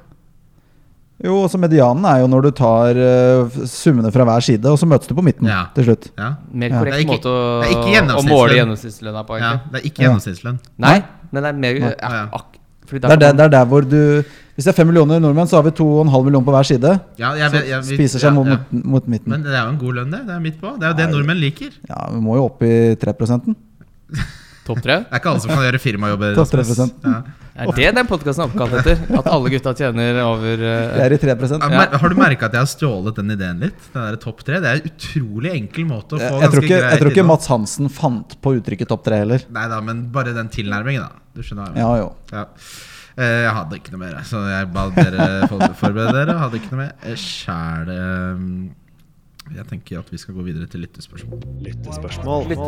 Jo, også medianen er jo når du tar eh, summene fra hver side, og så møtes du på midten
Ja.
til slutt.
Ja.
Mer
Ja.
korrekt
Det er ikke-
måte å,
det er
å
ikke
måle
gjennomsnittslønn.
gjennomsnittslønna på.
ja.
egentlig.
Det er ikke
Ja.
gjennomsnittslønn.
Nei, men det er mer
Nei.
ja, ak, fordi
Det
da
er der,
kan
det er der hvor du Hvis det er fem millioner nordmenn, så har vi to og en halv million på hver side.
Ja, jeg,
Så
vet- jeg, vi-
spiser seg
ja,
mot,
ja.
mot, mot midten.
Men det er jo en god lønn, det. Det er midt på. Det er jo det
Nei.
nordmenn liker.
Ja, Vi må jo opp i 3
man- Topp tre?
Det er ikke alle som kan gjøre firmajobber.
Topp
Rasmus.
3%.
Ja.
Er det den podkasten er oppkalt etter? At alle gutta tjener over
Det
eh,
er i 3
Ja,
Jeg,
mer- Har du merka at jeg har stjålet den ideen litt? Den der topp tre? Det er en utrolig enkel måte å få
jeg, tror
ganske
ikke, jeg
greit
tror ikke
innhold.
Mats Hansen fant på uttrykket topp tre heller.
Nei da, men bare den tilnærmingen, da. Du skjønner hva jeg mener.
Ja, jo.
Ja. Eh, Jeg hadde ikke noe mer, så jeg ba dere for- forberede dere. Jeg Hadde ikke noe mer. Eh, Sjæl eh, Jeg tenker at vi skal gå videre til lyttespørsmål.
eh,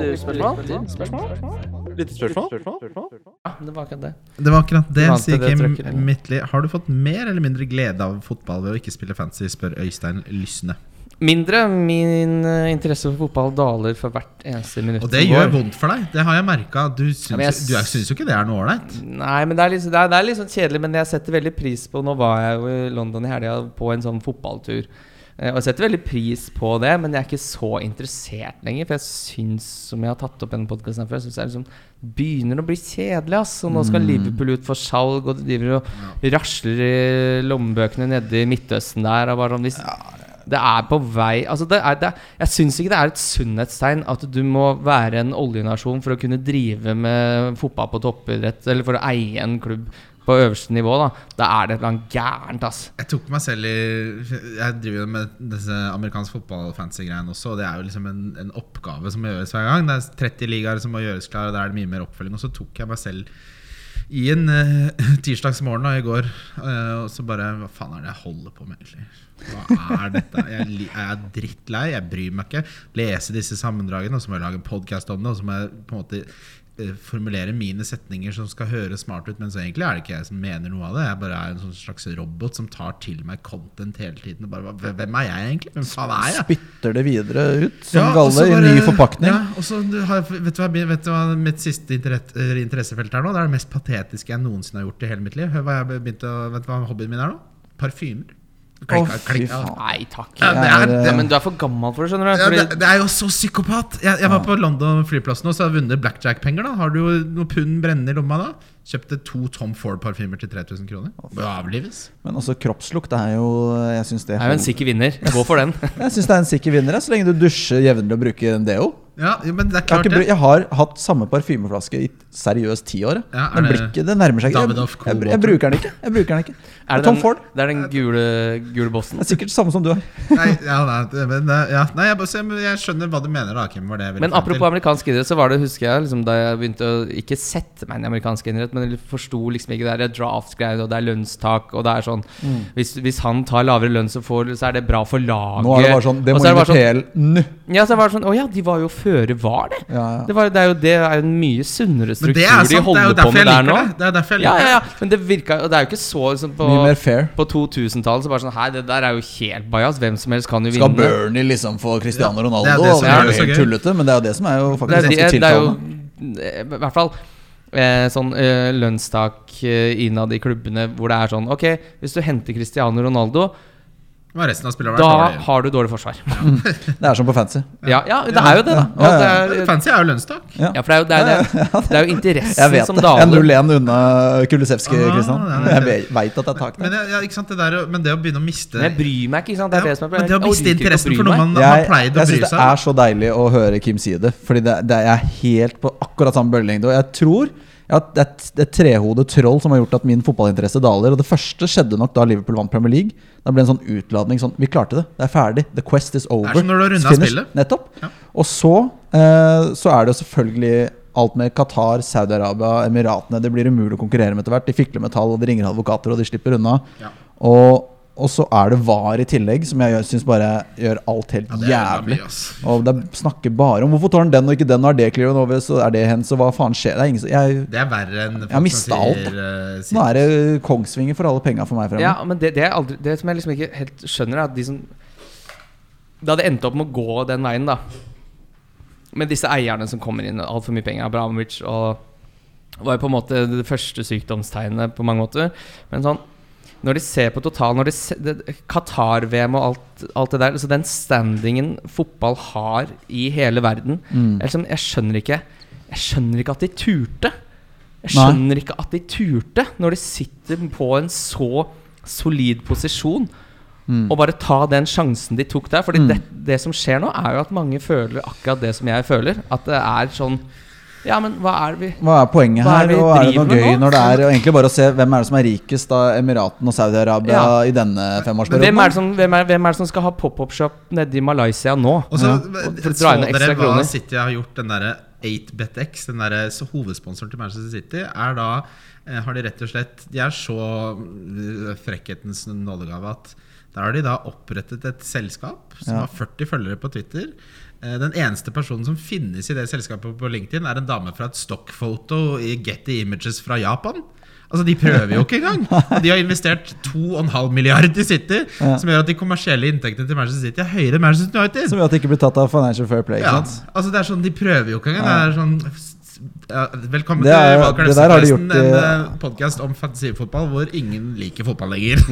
Ja, det var akkurat det.
Det var akkurat det,
Vant til
sier
det trøkket,
Kim
eller?
Midtly. Har du fått mer eller mindre glede av fotball ved å ikke spille fancy, spør Øystein Lysne.
Mindre. Min eh, interesse for fotball daler for hvert eneste minutt.
Og det
som
gjør
går.
vondt for deg. Det har jeg merka. Du syns,
Ja, men jeg
du er- syns jo ikke det er noe ålreit.
Nei, men det er, litt, det, er, det er litt sånn kjedelig, men jeg setter veldig pris på Nå var jeg jo i London i helga på en sånn fotballtur. Eh, Og jeg setter veldig pris på det, men jeg er ikke så interessert lenger. For jeg syns, som jeg har tatt opp i denne podkasten før, jeg synes det er liksom begynner å bli kjedelig. ass Og nå skal Liverpool ut for salg, og de driver og rasler i lommebøkene nede i Midtøsten der. Og bare sånn, hvis, det er på vei altså det er, det er, Jeg syns ikke det er et sunnhetstegn at du må være en oljenasjon for å kunne drive med fotball på toppidrett, eller for å eie en klubb på øverste nivå. Da Da er det et eller annet gærent, ass.
Jeg tok meg selv i Jeg driver jo med disse amerikanske fotballfancy-greiene også. Og det er jo liksom en, en oppgave som må gjøres hver gang. Det er 30 ligaer som må gjøres klar, og da er det mye mer oppfølging. Og så tok jeg meg selv i en eh, tirsdagsmorgen da, i går, eh, og så bare Hva faen er det jeg holder på med, egentlig? Hva er dette? Jeg, li- jeg er drittlei, jeg bryr meg ikke. Lese disse sammendragene, og så må jeg lage en podkast om det, og så må jeg på en måte eh, formulere mine setninger som skal høres smart ut, men så egentlig er det ikke jeg som mener noe av det. Jeg bare er en sånn slags robot som tar til meg content hele tiden. Og bare, "Hva- hvem er jeg egentlig? Hvem faen er jeg?
Spytter det videre ut som
Ja, og så
galle i
bare-
ny forpakning.
Ja, og så du har, vet, du hva, jeg- vet du hva mitt siste interett- eh, interessefelt er nå? Det er det mest patetiske jeg noensinne har gjort i hele mitt liv. Hør hva jeg begynte å, vet du hva hobbyen min er nå? Parfymer. Klikka,
Å, fy
klikka.
faen.
Nei takk.
Ja, det er,
Ja,
det,
men du er for gammel for det, skjønner du.
ja,
Fordi
det, det er jo så psykopat! Jeg, jeg var på London flyplass nå, så har jeg vunnet blackjack-penger. da Har du jo noen pund brennende i lomma da? Kjøpte to Tom Ford-parfymer til 3000 kroner. Bør avlives.
Men også kroppslukt er jo Jeg syns
jeg
det,
er jo en sikker vinner. Gå for den.
Jeg synes det er en sikker vinner, jeg, så lenge du dusjer jevnlig og bruker en deo.
Ja, jo, men det er
Jeg har,
klart
ikke, bru-
det.
jeg har hatt samme parfymeflaske i seriøst ti år. jeg.
Ja, er
Den
det
blir ikke, det nærmer seg ikke. Jeg,
Davidoff
jeg, jeg,
Coldwater?
bruker den ikke. Jeg bruker den ikke.
Er det,
Tom
den,
Ford.
det er den gule, gule bossen.
Det er sikkert det samme som du har.
Nei, ja, nei, det- men, eh, ja, nei jeg, bare- så jeg, jeg skjønner hva du mener, da, Kim. Var det jeg ville
Men
frem til.
apropos amerikansk idrett, så var det, husker jeg, liksom, da jeg begynte å ikke sette meg inn i amerikansk idrett, men jeg forsto liksom ikke det der draft-greiene, og det er lønnstak, og det er sånn
Mm.
hvis, hvis han tar lavere lønn, så, får, så er det bra for laget.
Nå er det bare sånn Det
Og
må
så er
inn
det
i
bare sånn,
PL nå.
ja, så er det bare sånn Å ja, de var jo føre var, det.
Ja, ja.
Det, var, det er jo det er jo en mye sunnere
Men
struktur
det
de
er, sant, det er jo
holder på
derfor jeg
med der
liker
nå.
det. Det er derfor jeg
Ja,
liker
ja,
det.
ja, men det virka Og det er jo ikke så liksom, på,
Mye mer fair.
på 2000-tallet så bare sånn Hei, det der er jo helt bajas. Hvem som helst kan jo vinne.
Skal Bernie liksom få Cristiano Ronaldo?
det er
og
jo
Det
det som
er jo
gjør det så
helt
gøy.
tullete, men det er jo det som er jo
det,
faktisk
er,
ganske
det, det er jo
tiltalende.
eh, I hvert fall eh, sånn eh, lønnstak eh, innad i klubbene hvor det er sånn Ok, hvis du henter Cristiano Ronaldo,
Men resten av spillerne
da
er dårlig.
har du dårlig forsvar.
Det er som på fancy.
Ja, ja det er jo det, da.
Ja,
Og
ja,
det er,
Fancy er jo lønnstak.
ja, for det er jo, det er, det er, det er jo
Jeg
interessen
vet
som
det. Jeg er
daler.
0-1 unna Kulisevskij,
Ah,
Kristian.
nei, nei,
Jeg
det-
ve- vet at det er tak
Men,
der.
ja, ja, ikke sant, det der, men det å begynne å miste
Men jeg bryr meg ikke, ikke sant. Det
ja,
er det som er
men det å
jeg orker
miste
ikke å
interessen
bry
for noe
meg.
man, man
Jeg,
pleide å
jeg
bry
syns det
seg
er
om.
så deilig å høre Kim si det, Fordi det, det er helt på akkurat samme bølgelengde. Og jeg tror at det er et- det er et trehodet troll som har gjort at min fotballinteresse daler. Og det første skjedde nok da Liverpool vant Premier League. Da ble det en sånn utladning sånn Vi klarte det. Det er ferdig. The quest is over.
Det er som når du har
It's
rundet
finished."
spillet.
Nettopp.
Ja.
Og så, eh, så er det jo selvfølgelig alt med Qatar, Saudi-Arabia, Emiratene. Det blir umulig å konkurrere med etter hvert. De fikler med tall, og de ringer advokater, og de slipper unna.
Ja.
Og, og så er det VAR i tillegg, som jeg syns bare gjør alt helt
Ja, det er jævla
jævlig.
mye, ass.
Og de snakker bare om hvorfor tar han den og ikke den, og er det clear and over, så er det hen, så hva faen skjer? Det er ingen som jeg,
Det er verre enn folk
har mistet
som
alt.
sier, eh, sitt-
Nå er det Kongsvinger for alle penga for meg fremover.
Ja, men det, det, er aldri, det som jeg liksom ikke helt skjønner, er at de som Det hadde endt opp med å gå den veien, da. Med disse eierne som kommer inn, altfor mye penger. Abramovic og var jo på en måte det første sykdomstegnet på mange måter. Men sånn når de ser på total når de se- det- Qatar-VM og alt, alt det der altså Den standingen fotball har i hele verden
Mm.
jeg, liksom, jeg skjønner ikke Jeg skjønner ikke at de turte. Jeg
Nei.
skjønner ikke at de turte, når de sitter på en så solid posisjon, og bare ta den sjansen de tok der. Fordi det, det som skjer nå, er jo at mange føler akkurat det som jeg føler. At det er sånn Ja, men hva er det vi
Hva er poenget
Hva er
her,
det vi
og er det
driver
noe
med
gøy
nå?
når det er og egentlig bare å se hvem er det som er rikest av Emiratene og Saudi-Arabia
Ja.
i denne
hvem er,
femårsperioden?
det som, hvem, er, hvem er det som skal ha pop-up-shop nede i Malaysia nå?
Og så
Og
så
dra inn noen
dere
ekstra
hva
kroner.
City har gjort, den derre 8BetX, den derre s- hovedsponsoren til Manchester City, er da eh, Har de rett og slett De er så eh, frekkhetens nådegave at der har de da opprettet et selskap som
Ja.
har 40 følgere på Twitter. Eh, Den eneste personen som finnes i det selskapet på LinkedIn, er en dame fra et stockfoto i Getty Images fra Japan. Altså, De prøver jo ikke engang! Og de har investert 2,5 milliard i City, som gjør at de kommersielle inntektene til Manchester City er høyere enn Manchester United!
Som gjør at det ikke blir tatt av Financial Fair Play.
Ja,
Ikke sant?
altså det er sånn, De prøver jo ikke engang. Det er sånn s- ja, Velkommen
Det er-
til Valkar
det der har de
Østepausen,
gjort i-
en uh, podkast om fantasifotball hvor ingen liker fotball lenger.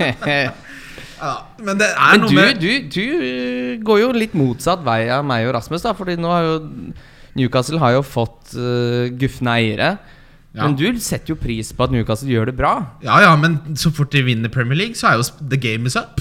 ja, men det er
Men
noe
du,
med
du, du går jo litt motsatt vei av meg og Rasmus, da. Fordi nå har jo Newcastle har jo fått uh, gufne eiere.
Ja.
Men du setter jo pris på at Newcastle gjør det bra.
Ja ja, men så fort de vinner Premier League, så er jo sp- the game is up.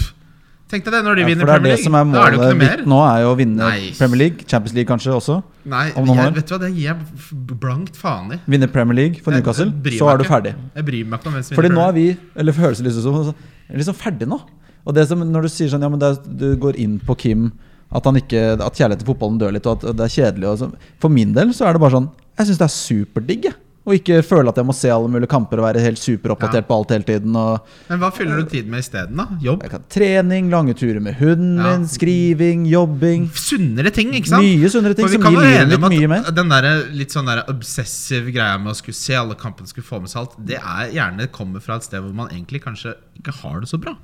Tenk deg det når de
Ja,
vinner
for det er
Premier League.
det som er
da er det jo
målet
ikke noe mer.
mitt nå, er jo å vinne
Nei.
Premier League, Champions League kanskje også.
Nei,
om noen år.
jeg, vet du hva, det gir jeg f- blankt faen i.
Vinne Premier League for
Jeg-
Newcastle,
jeg bryr
så
meg
er du
ikke.
ferdig.
Jeg bryr meg ikke om hvem som
Fordi
vinner
nå er
Premier League.
vi, eller føles det liksom som er liksom ferdig nå. Og det som, når du sier sånn, ja, men det er, du går inn på Kim, at, han ikke, at kjærligheten til fotballen dør litt, og at det er kjedelig og sånn. For min del så er det bare sånn, jeg syns det er superdigg, jeg. Å ikke føle at jeg må se alle mulige kamper og være helt superoppdatert
Ja.
på alt hele tiden. Og
Men hva fyller du tiden med isteden, da? Jobb?
jeg kan trening, lange turer med hunden
Ja.
min, skriving, jobbing.
sunnere ting, ikke sant?
Mye sunnere ting
For vi
som
kan
gir
være
livet
enige om
litt
at
mye mer.
Den der, litt sånn der obsessive greia med å skulle se alle kampene, skulle få med seg alt, det er gjerne kommer fra et sted hvor man egentlig kanskje ikke har det så bra.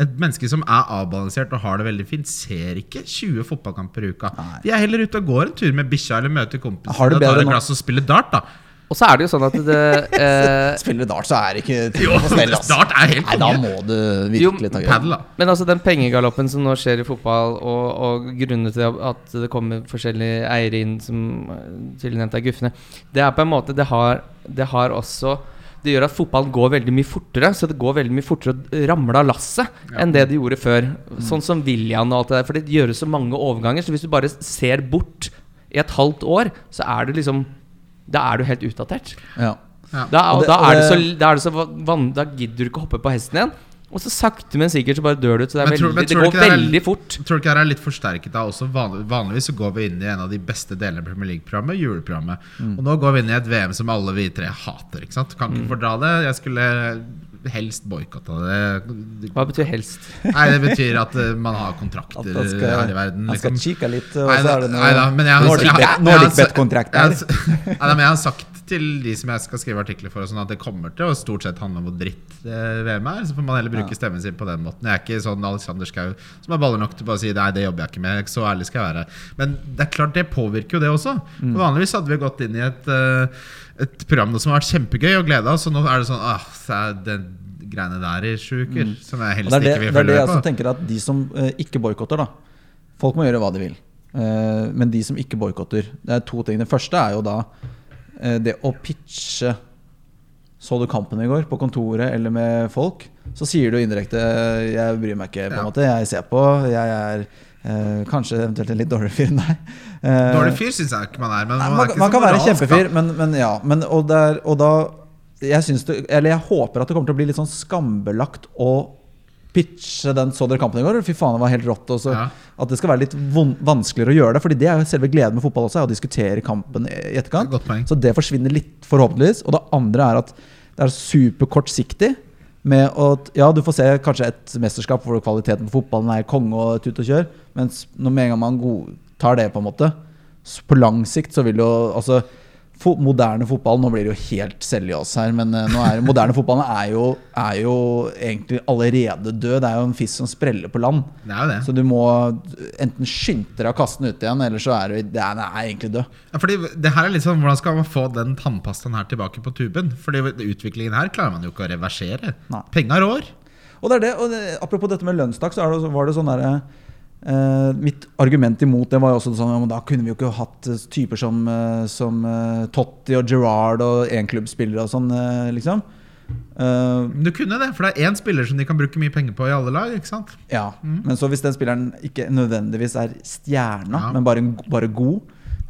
Et menneske som er avbalansert og har det veldig fint, ser ikke 20 fotballkamper i uka. De er heller ute og går en tur med bikkja eller møter kompiser
Har det
og tar
bedre
et
nå.
glass og spiller dart, da.
Og så er det jo sånn at det eh,
Spiller du dart, så er det ikke
Mm. Jo,
på stell, ass.
dart er helt
Nei, da
konge.
må du
Jo,
virkelig ta grep.
Padel, da.
Men altså den pengegaloppen som nå skjer i fotball, og, og grunnen til at det kommer forskjellige eiere inn som eh, tidligere nevnt er guffene, det er på en måte Det har, det har også det gjør at fotballen går veldig mye fortere, så det går veldig mye fortere å ramle av lasset enn det det gjorde før. Sånn som William og alt det der. For det gjøres så mange overganger, så hvis du bare ser bort i et halvt år, så er du liksom Da er du helt utdatert.
Ja.
Da, og
Og det-
da,
og
er det så,
det-
da, er det så van, da gidder du ikke å hoppe på hesten igjen. Og så sakte, men sikkert så bare dør du ut. Så det, er
Men tror-
veldig,
men
det
tror du
går
ikke det er-
veldig fort.
Tror du ikke det her er litt forsterket av også vanlig, Vanligvis så går vi inn i en av de beste delene av Premier League-programmet, juleprogrammet.
Mm.
Og nå går vi inn i et VM som alle vi tre hater. ikke sant? Kan ikke fordra det. Jeg skulle helst boikotta det.
Hva betyr helst?
Nei, det betyr at eh, man har kontrakter
At han skal,
her i verden.
han skal
liksom.
kikke litt, og
Nei
så
da,
er det
nei da, men jeg har-
Nordic
jeg har-
Bet-
jeg har-
Nordic Bet-kontrakt
jeg har-
der.
Nei da, men jeg har sagt til de som jeg skal skrive artikler for, og sånn at det kommer til å stort sett handle om hvor dritt eh, VM er. Så får man heller bruke stemmen sin på den måten. Jeg er ikke sånn Alexander Schou som har baller nok til bare å si nei, det jobber jeg ikke med. Så ærlig skal jeg være. Men det er klart, det påvirker jo det også.
Mm.
For vanligvis hadde vi gått inn i et, eh, et program nå som har vært kjempegøy og gleda oss, og nå er det sånn ah, så er den greiene der i sju uker som jeg
Mm. Og
helst
det er det,
ikke vil
det, er det
følge
jeg
med
også
på.
tenker at de som eh, ikke boikotter, da. Folk må gjøre hva de vil. Eh, men de som ikke boikotter Det er to ting. Det første er jo da eh, det å pitche Så du kampen i går på kontoret eller med folk? Så sier du indirekte eh, 'jeg bryr meg ikke', på en
Ja.
måte. Jeg ser på. Jeg er eh, kanskje eventuelt en litt dårligere fyr enn deg. Eh,
Dårlig fyr syns jeg ikke man er, men
Nei,
man,
man,
er ikke
man
så
kan være
moralsk,
en
da.
kjempefyr, men, men ja. Men, og, der, og da jeg, syns det, eller jeg håper at det kommer til å bli litt sånn skambelagt å pitche den så dere kampen i går. Fy faen, det var helt rått. Og så,
Ja.
At det skal være litt von, vanskeligere å gjøre det. Fordi det er jo selve gleden med fotball også, er å diskutere kampen i etterkant.
Godt poeng.
Så det forsvinner litt, forhåpentligvis. Og det andre er at det er superkortsiktig. Med at, ja, du får se kanskje et mesterskap hvor kvaliteten på fotballen er konge og tut og kjør, men når med en gang man godtar det, på en måte s- På lang sikt så vil jo altså fo Moderne fotball Nå blir det jo helt Seljås her, men eh, nå er, moderne fotball er jo, er jo egentlig allerede død. Det er jo en fisk som spreller på land.
Det er jo det.
Så du må enten skynde deg å kaste den ut igjen, eller så er du det er, den er egentlig død.
Ja, fordi det her er litt sånn, Hvordan skal man få den tannpastaen her tilbake på tuben? Fordi utviklingen her klarer man jo ikke å reversere.
Nei.
Penga rår.
Og det er det, og det, Apropos dette med lønnstak, så er det, var det sånn derre eh, Mitt argument imot det var jo også sånn ja, men Da kunne vi jo ikke hatt eh, typer som, eh, som eh, Totti og Gerrard og enklubbspillere og sånn, eh, liksom. Eh,
Men du kunne det, for det er én spiller som de kan bruke mye penger på i alle lag. ikke sant?
ja, Men så hvis den spilleren ikke nødvendigvis er stjerna,
Ja.
men bare, en- bare god,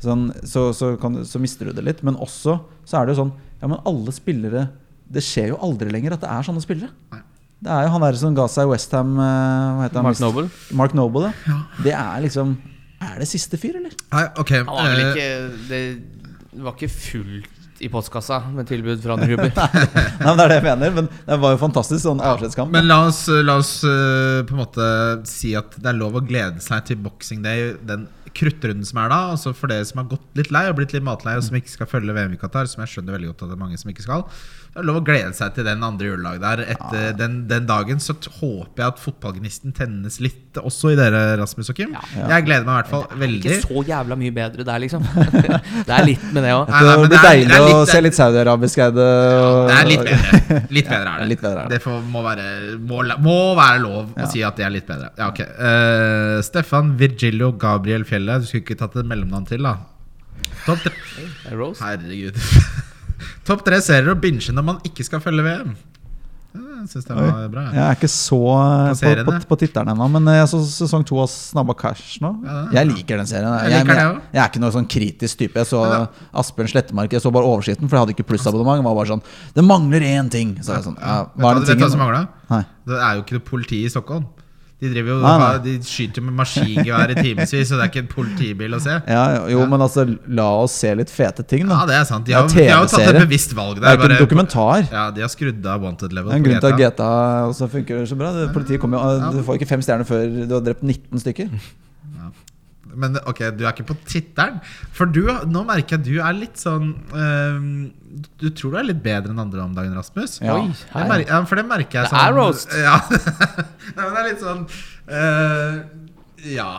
sånn, så, så, kan, så mister du det litt. Men også så er det jo sånn Ja, men alle spillere Det skjer jo aldri lenger at det er sånne spillere.
Nei.
Det er jo han der som ga seg i Westham Hva heter han?
Mark Noble.
Mark Noble, ja.
Ja.
Det er liksom Er det siste fyr, eller?
Nei, ok.
Han var vel
eh,
ikke Det var ikke fullt i postkassa med tilbud fra andre klubber.
Nei, men Det er det jeg mener. Men det var jo fantastisk sånn avskjedskamp.
Men la oss, la oss eh, på en måte si at det er lov å glede seg til Boxing Day, den kruttrunden som er da. Altså for dere som har gått litt lei og blitt litt matlei, og som ikke skal følge VM i Qatar, som jeg skjønner veldig godt at det er mange som ikke skal, det er lov å glede seg til den andre juledag der. Etter den, den dagen så t- håper jeg at fotballgnisten tennes litt også i dere, Rasmus og Kim. Jeg gleder meg i hvert fall veldig.
Ikke så jævla mye bedre der, liksom. Det er litt med det òg.
Nei, nei, men
det
det er-
blir
det
deilig
er
å
litt-
se litt saudiarabisk eide. og-
Det er litt bedre. Litt bedre er
det
det.
er litt bedre er det.
det får, må, være, må, la- må være lov å si at det er litt bedre. Ja, ok Eh, Stefan Virgilio Gabriel Fjellet. Du skulle ikke tatt et mellomnavn til, da. Topp tre,
Eh, Rose.
herregud. Topp tre serier å binge når man ikke skal følge VM. Jeg syns det var bra.
Jeg
Ja.
er ikke så eh, på,
Passerende.
på, på titteren ennå, men jeg så sesong to av Snabba Cash nå.
Ja,
Jeg liker den serien.
Jeg
Jeg,
liker
jeg,
det
jeg,
også.
er ikke noen sånn kritisk type. Jeg så
Men
Asbjørn Slettemark, jeg så bare overskriften, for jeg hadde ikke plussabonnement. Det var bare sånn Det mangler én ting! Så jeg sånn, ja, hva er
Vet du
den
hva som
tingen?
mangla?
Nei.
Det er jo ikke noe politi i Stockholm. De, driver jo,
Nei, nei.
de skyter med maskingevær i timevis, og det er ikke en politibil å se.
Ja, jo, men altså, la oss se litt fete ting, da.
Ja, det er sant. De
Det er
har, de har jo tatt et
TV-serie.
bevisst valg
Det
der.
er jo ikke en
bare-
dokumentar.
Ja, de har skrudd av wanted level.
Det er en
på
grunn til at
GTA.
GTA også funker så bra. Det- Politiet kommer jo Du får ikke fem stjerner før du har drept 19 stykker.
Men ok, du er ikke på tittelen. For du, nå merker jeg at du er litt sånn øhm, Du tror du er litt bedre enn andre om dagen, Rasmus.
Ja.
Oi,
Det mer, ja, for det merker jeg
Det er
sånn
roast.
Ja. Nei, men det er litt sånn øh, Ja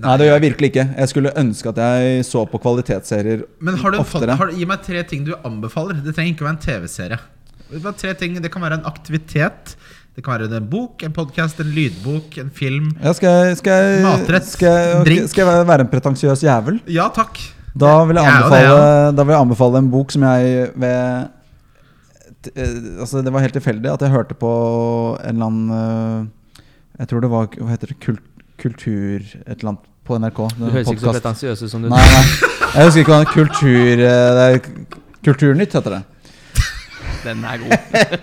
Nei, det gjør jeg virkelig ikke. Jeg skulle ønske at jeg så på kvalitetsserier
Men har du fått,
oftere.
har, du- gi meg tre ting du anbefaler. Det trenger ikke å være en TV-serie. Det, var tre ting, det kan være en aktivitet, det kan være en bok, en podkast, en lydbok, en film.
Ja, skal jeg, skal jeg,
Matrett,
skal jeg, ok,
drink.
Skal jeg være- være en pretensiøs jævel?
Ja takk.
Da vil jeg
Jeg er jo det,
anbefale, da vil jeg anbefale en bok som jeg ved t- eh, Altså, det var helt tilfeldig at jeg hørte på en eller annen eh, Jeg tror det var Hva heter det? Kult, kultur Et eller annet på NRK.
Du høres ikke så
Podcast.
pretensiøs ut som du
Nei, nei. Jeg husker ikke hva den kultur... eh, Det er k- Kulturnytt heter det.
Den er god.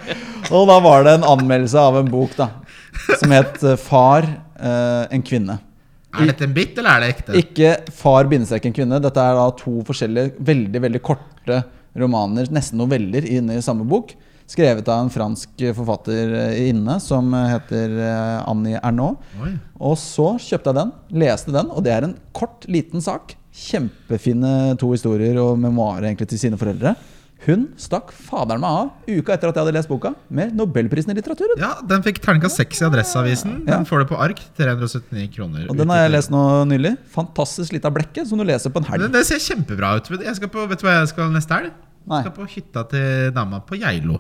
Og da var det en anmeldelse av en bok da som het eh, 'Far eh, en kvinne'.
Er dette en bit, eller er det ekte?
Ikke far bindestrek en kvinne. Dette er da to forskjellige veldig veldig korte romaner, nesten noveller, inne i samme bok. Skrevet av en fransk eh, forfatter eh, inne som eh, heter eh, Annie Ernaux.
Oi.
Og så kjøpte jeg den, leste den, og det er en kort, liten sak. Kjempefine to historier og memoarer egentlig til sine foreldre. Hun stakk faderen meg av uka etter at jeg hadde lest boka, med Nobelprisen i litteratur.
Ja, den fikk terningkast seks i Adresseavisen. Den
Ah. Ja.
får du på ark. 379 kroner.
Og den har jeg lest nå nylig. Fantastisk lita blekke som du leser på en helg.
Det, det ser kjempebra ut. Vet du- Jeg skal på, vet du hva jeg skal neste helg?
Nei.
Jeg skal på hytta til dama på Geilo.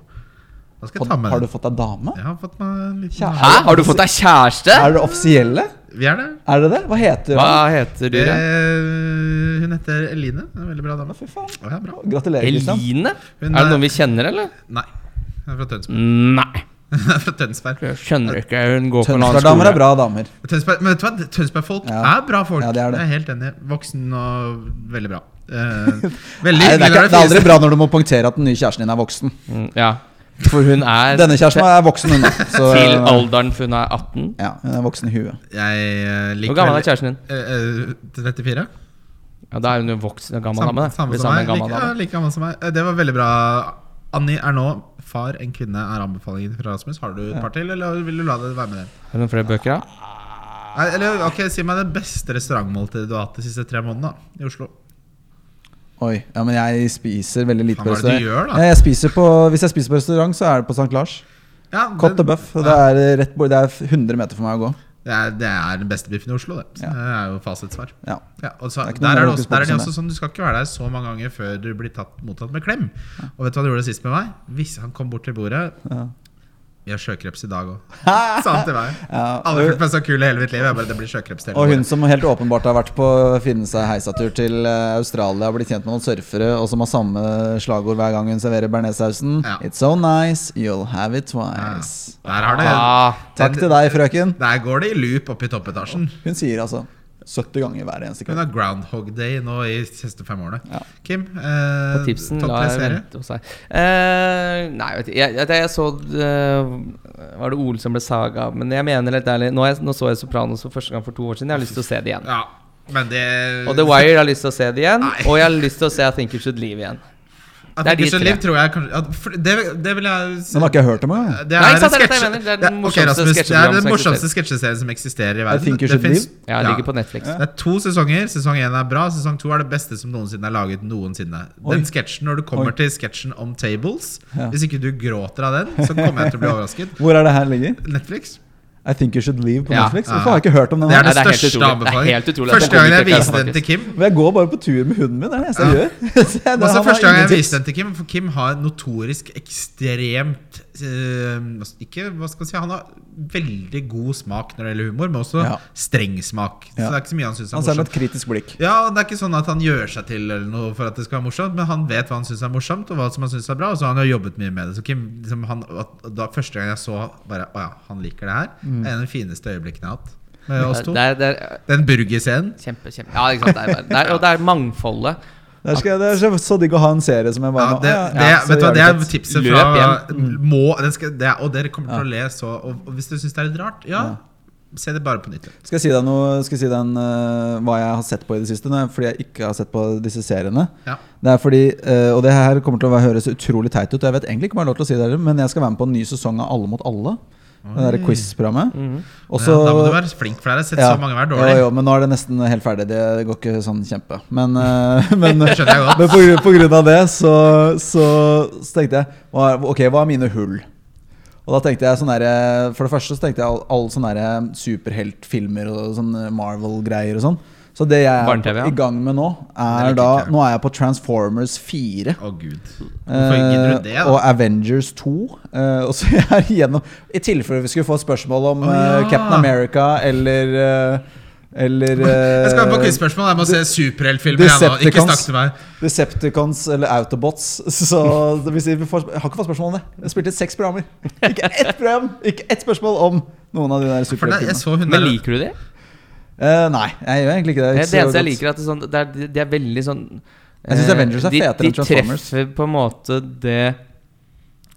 Da skal jeg ta
Har,
med
har du
den.
fått deg dame?
Jeg har fått meg en liten
Kjære.
Hæ? Har du fått deg kjæreste?
Er det offisielle?
Vi er der.
Er det det? Hva heter
Hva
han?
heter
Det,
dyret?
Eh, hun heter Eline. En veldig bra dame.
Fy faen.
Ja, det er bra.
Gratulerer, Kristian.
Eline?
Eh, Hun
Er det
er-
noen vi kjenner, eller?
Nei. Hun er fra Tønsberg.
Nei.
Hun er fra Tønsberg.
Jeg skjønner ikke. Hun går på en annen
Tønsbergdamer
skole.
er bra damer.
Tønsberg, men vet du hva? Tønsbergfolk
Ja.
er bra folk.
Ja, det er det.
Jeg er helt enig. Voksen og veldig bra. Eh, veldig
Nei, det, er
hyggelig når
ikke, det er aldri
finnes-
bra når du må poengtere at den nye kjæresten din er voksen.
Mm, Ja. For hun er
Denne kjæresten er voksen, hun. da. Så,
til
eh,
alderen for hun er 18.
Ja, hun er voksen i huet.
Jeg eh, liker
Hvor gammel er
veldig-
kjæresten din?
Eh, eh, 34?
Ja, Da er hun jo voksen og gammel
Samme,
dame. da.
samme
Blir
som
samme
meg.
gammel
Like, ja,
dame.
like gammel som meg. Eh, Det var veldig bra. Annie er nå far, en kvinne er anbefalingen fra Rasmus. Har du et par til, eller vil du la det være med det?
Er det noen flere bøker, da?
Nei, Eller ok, Si meg det beste restaurantmåltidet du har hatt de siste tre månedene da, i Oslo.
Oi, ja, men jeg spiser veldig lite
Faen,
på
hva er det
restaurant.
du gjør, da?
Ja, jeg spiser på, hvis jeg spiser på restaurant, så er det på St. Lars.
Ja, den-
Cot de Buff. og Det er rett bord, det er 100 meter for meg å gå.
det, er, det er den beste biffen i Oslo, det. Så
Ja.
Det er jo fasitsvar.
Ja.
Ja, og så,
Det er ikke noe
der, er
mer
det også,
hokus
der er det
pokus enn
også sånn Du skal ikke være der så mange ganger før du blir tatt, mottatt med klem. Og vet du hva du gjorde sist med meg? Hvis han kom bort til bordet
Ja.
Vi har sjøkreps i dag òg. Sa han til meg.
Ja,
Alle har følt meg så kul i hele mitt liv. Jeg bare, det blir sjøkreps til hele
Og hun
bordet.
som helt åpenbart har vært på finne seg heisatur til eh, Australia og blitt kjent med noen surfere, og som har samme slagord hver gang hun serverer bearnéssausen.
Ja.
It's so nice, you'll have it
Ja.
twice.
Der har det
Ah,
Takk til deg, frøken.
Der går det i loop opp i toppetasjen.
Hun sier altså 70 ganger hver eneste
Hun
kveld.
har Groundhog Day nå i de siste fem årene.
Ja.
Kim, eh,
På tipsen
topp
la
tre
jeg
serie?
vente hos deg. Eh, nei, vet du, jeg, jeg, jeg så eh, Var det Ole som ble saga? Men jeg mener helt ærlig, nå, har jeg, nå så jeg Sopranos for første gang for to år siden. Jeg har lyst til å se det igjen.
Ja, men det
Og The Wire jeg har lyst til å se det igjen.
Nei.
Og jeg har lyst til å se I Think You Should Leave igjen.
At
det er de
Christian
tre.
Liv tror jeg kanskje at, for, det, det vil jeg
Den har ikke jeg hørt om engang.
Det
Nei,
er,
ikke sant,
en
det er dette jeg
sketsje-
mener. Det er den
det er- ok,
morsomste
Rasmus, det er
sketsjeserien
den
som
morsomste
eksisterer.
sketsjeserien som eksisterer i verden.
think you
Det
should
finnes-
live.
Ja, jeg
Ja.
ligger på Netflix.
Det er to sesonger. Sesong én er bra, sesong to er det beste som noensinne er laget. noensinne Den sketsjen, Når du kommer
Oi.
til sketsjen om tables
Ja.
Hvis ikke du gråter av den, så kommer jeg til å bli overrasket.
Hvor er det her ligger?
Netflix.
I Think You Should Leave på
Ja,
Netflix. Hvorfor
ja.
har jeg ikke hørt om den?
Det er
her?
det
det er helt utrolig.
største
Det er
anbefaling.
helt utrolig at
Første
det
gangen jeg
kommer til å
viste
klare,
den til Kim
Men Jeg går bare på tur med hunden min. Det er det eneste jeg
Ja.
gjør. Så jeg-
Også
han har
første gang jeg
ingen tips.
viste den til Kim, for Kim har notorisk ekstremt eh, hva s- Ikke, hva skal man si Han har veldig god smak når det gjelder humor, men også
Ja.
streng smak. Så
Ja.
det er ikke så mye han syns er
Han ser med
morsomt.
et kritisk blikk.
Ja, og det er ikke sånn at han gjør seg til eller noe for at det skal være morsomt, men han vet hva han syns er morsomt, og hva som han syns er bra, og så har han jo jobbet mye med det. Så Kim, liksom, han, at- da, første gang jeg så bare Å ja, han liker det her. Det er en av de fineste øyeblikkene jeg har hatt med oss to.
Det er, det er
Den burgerscenen.
kjempe, kjempe Ja, ikke sant. Det er, bare- det er, og det er mangfoldet.
Der skal jeg, det er så- så digg å ha en serie som jeg bare
Ja,
må-
det,
ah,
det,
ja, så
vet du hva, det
jævlig
er
fett.
tipset
Løp
fra Mm. må, den skal, det er, Og dere kommer til å le så Og, og hvis du syns det er litt rart, ja, se det bare på nytt.
Skal jeg si deg noe Skal jeg si deg en, eh, hva jeg har sett på i det siste? Nå, fordi jeg ikke har sett på disse seriene.
Ja.
Det er fordi, eh, og det her kommer til å være- høres utrolig teit ut, og jeg vet egentlig ikke om jeg har lov til å si det, heller, men jeg skal være med på en ny sesong av Alle mot alle. Det der quiz-programmet. Og så-
Mm. ja, da må du være flink, for dere har sett så mange være
Jo,
dårlig.
jo, men nå er det nesten helt ferdig. Det går ikke sånn kjempe. Men, eh, men, men
Det skjønner jeg godt.
på, grunn, på grunn av det så, så, så tenkte jeg hva er- Ok, hva er mine hull? Og da tenkte jeg sånn derre- For det første så tenkte jeg all- alle sånne derre superheltfilmer og sånne Marvel-greier og sånn. Så det jeg er
Barne-TV, ja.
i gang med nå,
Det
er
liker
da
ikke jeg.
Nå er jeg på Transformers 4.
Å, gud. Hvorfor gidder du det,
Eh, og
da?
Avengers 2. eh, og så jeg er igjennom I tilfelle vi skulle få spørsmål om
Å, ja.
eh, Captain America eller eh, Eller
Jeg skal på
eh,
quizspørsmål. Jeg må se superheltfilmer. jeg nå. Ikke
Decepticons.
snakk til meg.
Decepticons eller Autobots. Så det vil si, vi får, jeg har ikke fått spørsmål om det. Jeg spilte inn seks programmer. Ikke ett program, ikke ett spørsmål om noen av de der
For da, jeg
superheltfilmene.
så
Men
hun der
liker du det?
Eh, nei, jeg gjør egentlig ikke det.
Det,
så
det eneste jeg
godt.
liker, er at det, er sånn, det, er, de- de er veldig sånn
Jeg synes
eh,
Avengers er
de-
fetere enn Transformers.
De treffer på en måte det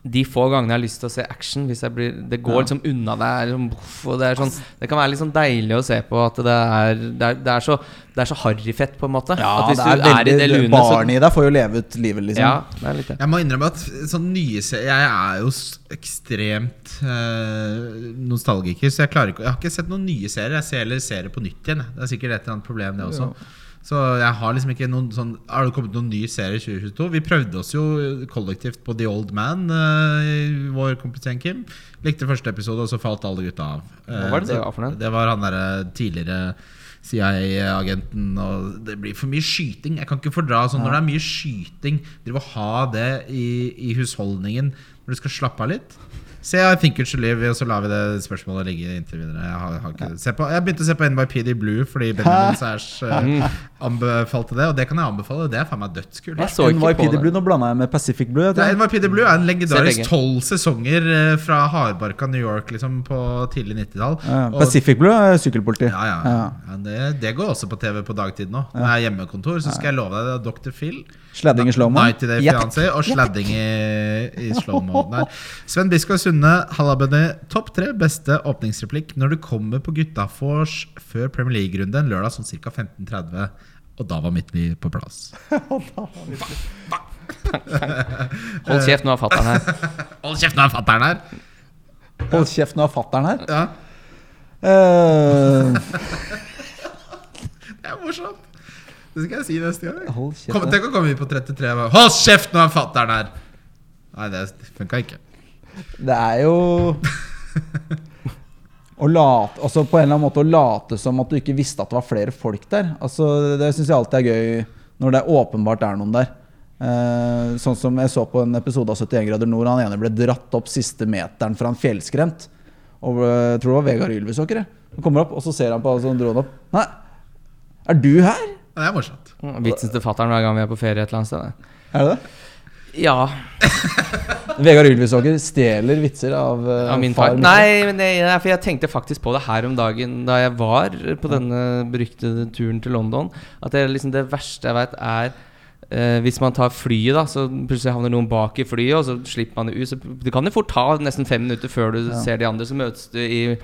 de få gangene jeg har lyst til å se action. Hvis jeg blir, det går
Ja.
liksom unna deg. Liksom, boff, og det, er sånn, det kan være litt sånn deilig å se på at det er, det er, det er så, det er så harryfett, på en måte.
ja,
at hvis
det er
du er i det
veldig
lune,
Barnet i deg får jo leve ut livet, liksom.
ja, det er litt det.
Jeg må innrømme at sånn nye se- Jeg er jo s- ekstremt eh, nostalgiker, så jeg klarer ikke Jeg har ikke sett noen nye serier. Jeg ser heller serier på nytt igjen. jeg. Det er sikkert et eller annet problem, det også.
Jo.
Så jeg har liksom ikke noen sånn Har det kommet noen ny serie i 2022? Vi prøvde oss jo kollektivt på The Old Man, eh, vår kompis igjen, Kim. Likte første episode, og så falt alle gutta av. Eh,
Hva var det det var for noe?
det var han derre tidligere CIA-agenten, og det blir for mye skyting. Jeg kan ikke fordra sånn når det er mye skyting. Drive og ha det i, i husholdningen når du skal slappe av litt. Se, I think it should live, og så lar vi det spørsmålet ligge inntil videre. Jeg, har, har ikke, se på, jeg begynte å se på NYPD Blue fordi Benjamin Sæsj eh, anbefalte det, og det kan jeg anbefale. Det er faen meg dødskult.
Jeg så ikke
NYPD
på det.
Blue, nå blanda jeg med Pacific Blue. vet du.
Det er NYPD Blue er en
Se begge.
legendarisk tolv sesonger eh, fra hardbarka New York liksom, på tidlig 90-tall.
Ja, ja.
Og-
Pacific Blue er sykkelpoliti.
Ja, ja. ja det, det går også på TV på dagtid nå. Når jeg er hjemmekontor, så skal jeg love deg det er Dr. Phil.
Sladding i slow-mo.
Night i Day
Ja,
Fiancé og sladding i, i slow-mo. der. Sven Biskår Sunde, halla, Benny. Topp tre beste åpningsreplikk når du kommer på gutta vors før Premier League-runde en lørdag sånn ca. 15.30. Og da var mitt liv på plass.
Hold kjeft, nå er fatter'n her.
Hold kjeft, nå er fatter'n her!
Hold kjeft, nå er fatter'n her.
Ja,
Eh,
det er morsomt. Det skal jeg si neste gang.
hold kjeft.
Kom, tenk å komme hit på 33 og bare, Hold kjeft, nå er fatter'n her! Nei, det funka ikke.
Det er jo å late, altså På en eller annen måte å late som at du ikke visste at det var flere folk der. Altså, det syns jeg alltid er gøy når det åpenbart er noen der. Eh, sånn som jeg så på en episode av 71 grader nord. Han ene ble dratt opp siste meteren fra en fjellskrent. Og eh, jeg tror det var Vegard Ylvisåker. jeg. Han kommer opp, og så ser han på alle som dro han opp. Nei, er du her?
Ja, Det er morsomt.
Vitsen til fatter'n hver gang vi er på ferie et eller annet sted.
Er det det?
Ja.
Vegard Ylvisåker stjeler vitser av, eh,
Av min far?
min.
Nei, men det, nei, for jeg tenkte faktisk på det her om dagen da jeg var på denne beryktede turen til London. At det, er liksom det verste jeg veit, er eh, hvis man tar flyet, da så plutselig havner noen bak i flyet, og så slipper man det ut. Så det kan jo fort ta nesten fem minutter før du ser de andre. Så møtes du i,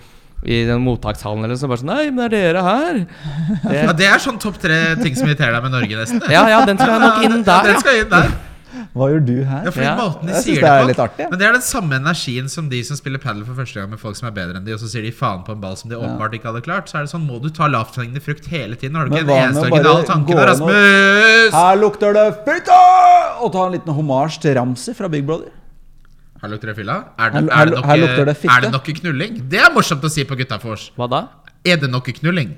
i den mottakshallen eller noe sånt. Bare sånn Nei, men er dere her? Det,
Ja, det er sånn topp tre ting som irriterer deg med Norge, nesten.
ja, ja, den skal jeg nok inn der,
Den
ja.
skal inn der.
Hva gjør du her?
Ja, fordi
Ja.
måten de
Jeg
sier
synes
det
det er
på.
litt artig, ja.
Men det er den samme energien som de som spiller padel for første gang med folk som er bedre enn de, og så sier de faen på en ball som de åpenbart ikke hadde klart. Så er det sånn, må du ta lavthengende frukt hele tiden? Har du
Men
ikke en
hva med
eneste
å bare
original tanke
gå
der,
inn og-
Rasmus?
Her lukter det fitte! Og ta en liten homasj til Ramsi fra Big Brother.
Her lukter det fylla. Er det,
Her-
er det,
her- her lukter
noe,
det fitte.
er det noe knulling? Det er morsomt å si på gutta vors.
Hva da?
Er det noe knulling?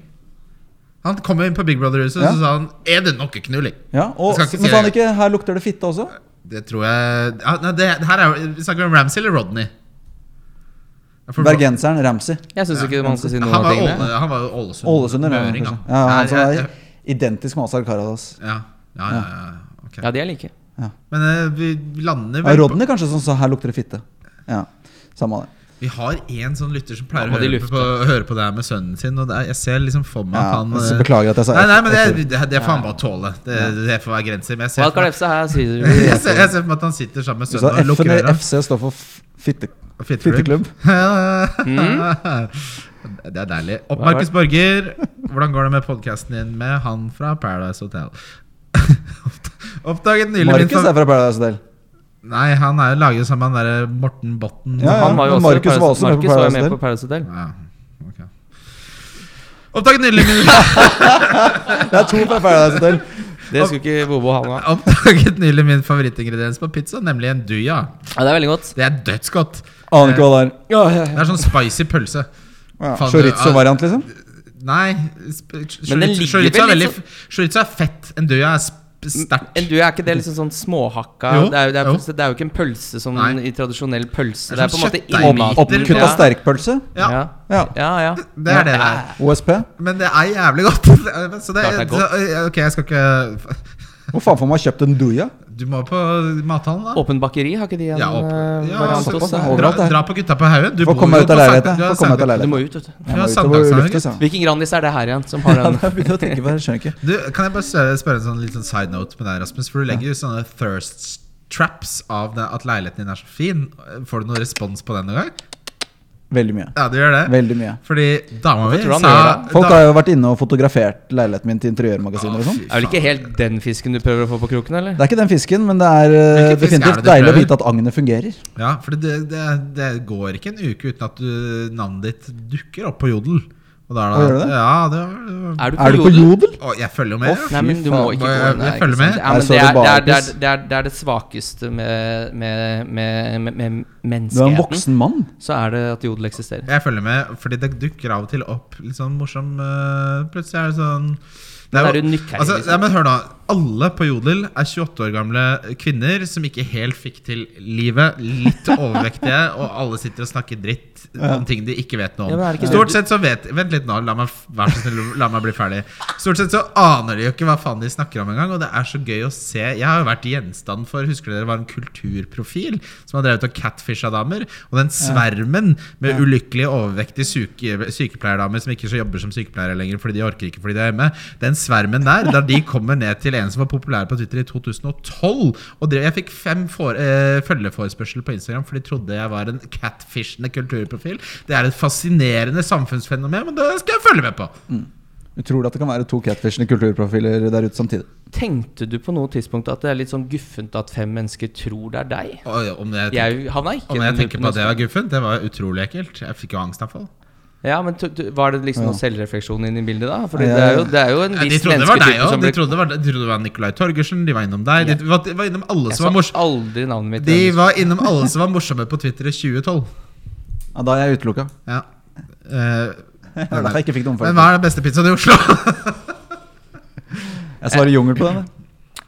Han kom inn på Big Brother-huset, og
Ja.
så sa han Er det noe knulling?
Ja, og,
Jeg skal ikke
men
si
sa han
det.
ikke 'her lukter det fitte' også?
Det tror jeg ja, nei, det, Her er jo Snakker vi om Ramsay eller Rodney? Ja, for-
Bergenseren Ramsi.
Jeg syns ikke man skal si noen
han
av
var,
tingene.
Åle, han var jo Ålesund.
Ålesunder. Ja,
Møring, han.
kanskje. ja, han
Nei,
som
jeg-
er identisk med Azar Karadas.
Ja, ja, ja, ja. ok.
Ja, de er like.
Men eh, vi lander
Ja,
vel på
Rodney kanskje som sa 'her lukter det fitte'. Ja, Samme det.
Vi har én sånn lytter som pleier
Ja,
å
må de
høre
lufte.
på, høre på det her med sønnen sin. Og det er, jeg ser liksom for meg at
Ja,
han
så
eh,
beklager at jeg sa
Nei, nei, men det,
F-
det, det får han bare tåle. Det, det får være grenser. Men jeg ser, for
Wildcard
meg,
FC her sier du
jeg, ser, jeg ser for meg at han sitter sammen med
Du sa
sønnen og lukker
F-en i
øra.
FC står for f- fitte,
Fitteklubb.
fitteklubb.
Mm. det er deilig. Opp, Markus Borger. Hvordan går det med podkasten din med han fra Paradise Hotel? Oppdaget nylig min
Markus
favor-
er fra Paradise Hotel.
Nei, han er jo laget sammen med han derre Morten Botten.
Ja,
Han var jo også,
men
i
Markus var
Paradise-
også med på
Markus var jo
Paradise
med
Hotel.
på Paradise Hotel.
Ja, ok. Oppdaget nylig min
Det er to fra Paradise Hotel.
Det skulle ikke Bobo ha med.
Oppdaget nylig min favorittingrediens på pizza, nemlig en duja.
Ja, det er veldig godt.
Det er dødsgodt.
Aner ikke hva det er.
Det er sånn spicy pølse.
Ja,
Faen,
Chorizo-variant, liksom?
Nei sp-
Men den
Chorizo
ligger
chorizo er
vel
veldig
litt
Chorizo er fett. En duja er sp- sterkt.
Men du, er ikke det liksom sånn småhakka
Jo,
det, er, jo- det, er,
jo.
jo. det er jo ikke en pølse som
Nei.
i tradisjonell pølse.
Det
Det
er
er,
sånn
på en måte
kjøttdeig.
inni
Opp-
den.
Oppkutta sterkpølse?
Ja.
Ja.
Ja.
ja, ja.
Det er det det er.
OSP?
Men det er jævlig godt. Så det,
Klart det er godt.
Så, ok, jeg skal ikke
Hvor faen får man kjøpt en duja?
Du må på mathallen, da.
Åpen bakeri, har ikke de en
Ja, opp.
eh,
Ja,
variant
så-
hos oss?
såpass,
Ja.
ja.
Dra,
Overalt, det.
dra på gutta på haugen. Du
Få
bor
komme
jo
ut av
på Sankt-
leiligheten,
du er
få komme ut av
Sankt-
Du
leiligheten.
må ut, vet du.
Jeg
Ja,
må ut og
Sankthanshaugen.
lufte, sa han.
Hvilken Grandis er det her igjen som har
Ja,
den?
det begynner jeg å tenke på, jeg skjønner ikke.
Du, kan jeg bare se- spørre en sånn, litt sånn side note med deg, Rasmus? For du legger jo sånne thirst traps av det, at leiligheten din er så fin. Får du noen respons på den noen gang?
Veldig mye.
Ja, du gjør det?
Veldig mye.
Fordi dama mi
tror han
sa
gjør
Folk
da-
har jo vært inne og fotografert leiligheten min til interiørmagasiner og sånn.
Er vel ikke helt den fisken du prøver å få på kroken, eller?
Det er ikke den fisken, men det er eh,
Hvilken fisk er
definitivt
det du
deilig å
prøver?
vite at agnet fungerer.
Ja, for det, det, det går ikke en uke uten at du, navnet ditt dukker opp på Jodel. Og da
Å,
er
gjør
det,
det?
ja, det,
Er du
Er du på jodel?
å, jeg følger jo med.
Å,
ja.
Nei, men du
faen,
må ikke
må
gå
jeg-
nei,
jeg
ikke
følger
sant?
med?
Ja,
Nei,
men
så
det,
er
er,
det
det, er, det,
bakis.
er, det, er, det er det svakeste med, med, med, med, med
Du er en
menneskeheten.
voksen mann.
Så er det at jodel eksisterer.
Jeg følger med, fordi det dukker av og til opp litt sånn morsom eh, Plutselig er det sånn det
Men er du nykk her,
altså,
liksom?
ja, men hør da, Alle på Jodel er 28 år gamle kvinner som ikke helt fikk til livet. Litt overvektige, og alle sitter og snakker dritt om ting de ikke vet noe om.
Ja, men er det ikke
Stort sett så vet Vent litt nå, la meg, f- vær så snill, la meg bli ferdig. Stort sett så aner de jo ikke hva faen de snakker om engang, og det er så gøy å se. Jeg har jo vært gjenstand for Husker dere det var en kulturprofil som har drevet og catfisha damer? Og den svermen med ulykkelige, overvektige syke, sykepleierdamer som ikke så jobber som sykepleiere lenger fordi de orker ikke fordi de er hjemme, den svermen der, da de kommer ned til en som var populær på Twitter i 2012 og drev, Jeg fikk fem for, eh, følgeforespørsel på Instagram, for de trodde jeg var en catfishende kulturprofil. Det er et fascinerende samfunnsfenomen, men det skal jeg følge med på.
Utrolig at det kan være to catfishende kulturprofiler der ute samtidig.
Tenkte du på noe tidspunkt at det er litt sånn guffent at fem mennesker tror det er deg?
Og, ja, om jeg, tenker,
Jeg havna ikke
om
i
jeg
den
tenker
loopen
på at
også.
det var guffent, det var utrolig ekkelt. Jeg fikk jo angstavfall.
Ja, men t- t- Var det liksom noe selvrefleksjon inn i bildet, da? Fordi
Ja,
det,
ja,
er
ja.
jo, det er jo en
Ja,
viss
de trodde det var deg
mennesketype
òg.
som
De
ble
trodde det var, de trodde det var Nicolai Torgersen, de var innom deg. De var, de var innom alle
Jeg
som var
sa
morsomme.
aldri navnet mitt.
De var innom alle som var morsomme på Twitter i 2012.
Ja, da er jeg utelukka.
Ja. Eh,
Det er derfor jeg ikke fikk noen
men
følelser.
hva er den beste pizzaen i Oslo?
Jeg svarer jungel på den. jeg.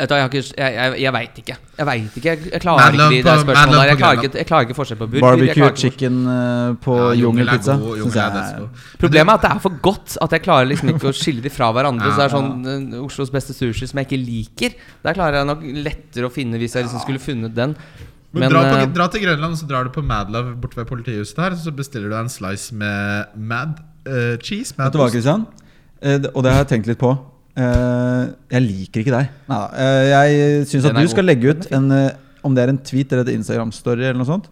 Vet du hva, Jeg, har ikke- jeg, jeg, jeg veit ikke. Jeg vet ikke, jeg, jeg klarer
Madlab
ikke de der
på-
spørsmålene
Madlab
der. Jeg
på
klarer
Grønland.
ikke, jeg klarer ikke forskjell på burger. jeg
Barbecue
klarer ikke forskjell-
chicken eh, på
Ja, jungel er
jungelpizza.
god, jungel
Synes
er
jeg
dødsgod.
Problemet er at det er for godt at jeg klarer liksom ikke å skille de fra hverandre.
Ja.
Så det er sånn eh, Oslos beste sushi som jeg ikke liker. Der klarer jeg nok lettere å finne hvis jeg liksom skulle funnet den.
Men,
Men,
dra, på,
eh,
dra til Grønland, så drar du på Madlove borte ved politihuset her. Så bestiller du deg en slice med mad eh, cheese. Mad
Vet du hva,
ost.
Kristian? Eh, det- Og det har jeg tenkt litt på. Eh, jeg liker ikke deg. Neida, eh, jeg syns at
Den er
du skal
god.
legge ut en eh, Om det er en tweet eller et Instagram-story eller noe sånt,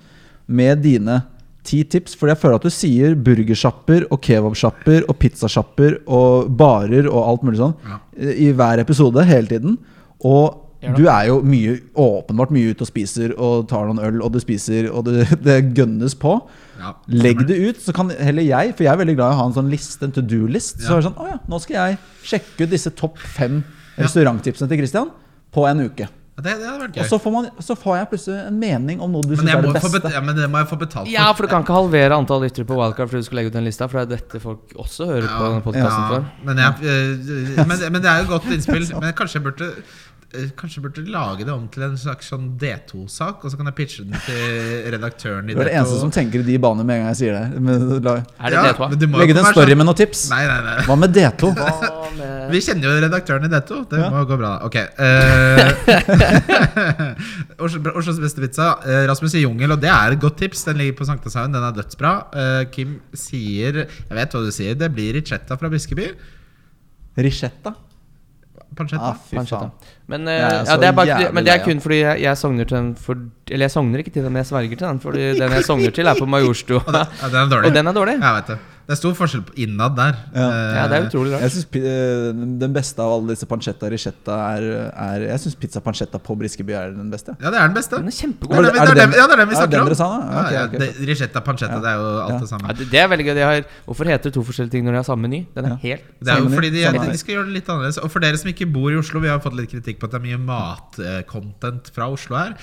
med dine ti tips. Fordi jeg føler at du sier burgersjapper og kebabsjapper og pizzasjapper og barer og alt mulig sånn
Ja.
eh, i hver episode hele tiden. Og du er jo mye, åpenbart mye ute og spiser og tar noen øl, og du spiser, og du, det gønnes på.
Ja,
Legg det ut, så kan heller jeg, for jeg er veldig glad i å ha en sånn liste, en to do-list. Så
Ja.
er det sånn, å ja, nå skal jeg stemmer. sjekke ut disse topp fem restauranttipsene til Christian på en uke.
Ja, det, det hadde vært
Og
gøy.
så får, man, så får jeg plutselig en mening om noe du
Men,
syns
jeg
er
må
det
få bet
beste.
ja, men det må jeg få betalt
Ja, for du kan ikke halvere antall lyttere på Wildcard fordi du skal legge ut den lista, for det er dette folk også hører på denne podcasten
Ja,
for.
Men, jeg, eh, men, men det er jo godt innspill. Men kanskje jeg burde eh, Kanskje jeg burde lage det om til en slags sånn D2-sak, og så kan jeg pitche den til redaktøren i
Du er det eneste som tenker i de baner med en gang jeg sier det. Men, la,
Er det
Ja,
det,
men du må jo
legg ut
ikke
en
være
story
sånn-
med noen tips.
Nei, nei, nei.
Hva med D2?
Tva?
Vi kjenner jo redaktøren i Detto. Det
Ja.
må gå bra. da. Ok. eh, Oslo- Oslos beste pizza. eh, Rasmus i jungel, og det er et godt tips. Den ligger på Sankthanshaugen. Den er dødsbra. Eh, Kim sier Jeg vet hva du sier. Det blir ricetta fra Briskeby.
Ricetta?
Pancetta.
Ah, fy faen.
Men, eh,
Jeg er
ja,
så
det er bare,
jævlig
men det er
lei,
kun fordi jeg, jeg sogner til den for, Eller jeg sogner ikke til den, men jeg sverger til den. Fordi den jeg sogner til, er på
Og den,
Majorstua.
ja, den er dårlig.
Og den er dårlig.
Jeg vet det. Det er stor forskjell på innad der.
Ja.
Eh,
Ja, det er utrolig rart.
Jeg synes, pi- eh, den beste av alle disse pancetta ricetta er, er Jeg syns pizza pancetta på Briskeby er den beste.
ja, det er den beste.
Den er kjempegod.
Men det,
Er
det, er
det- er det
den, ja, det er den vi
er det
snakker
den
om.
dere sa da? Ja, ok,
Ja, ja,
ok,
det- Ricetta pancetta, det er jo alt
Ja.
det
Ja,
samme.
det, det er veldig gøy. De har, hvorfor heter det to forskjellige ting når de har samme meny? Den er
Ja.
helt
Det er jo
Samme
fordi de,
ny- samme
de,
ny.
de skal gjøre det litt annerledes. Og for dere som ikke bor i Oslo, vi har fått litt kritikk på at det er mye matcontent fra Oslo her.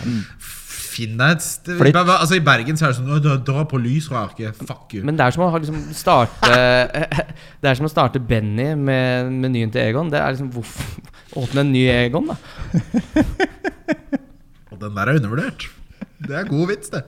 Finn deg et sted
Mm. Flytt.
Altså I Bergen så er det sånn «Å, dra- Dra på Lysrake, fuck you.
Men det er som å ha liksom starte Det er som å starte Benny med menyen til Egon. Det er liksom hvorfor Åpne en ny Egon, da.
Og den der er undervurdert. Det er god vits, det.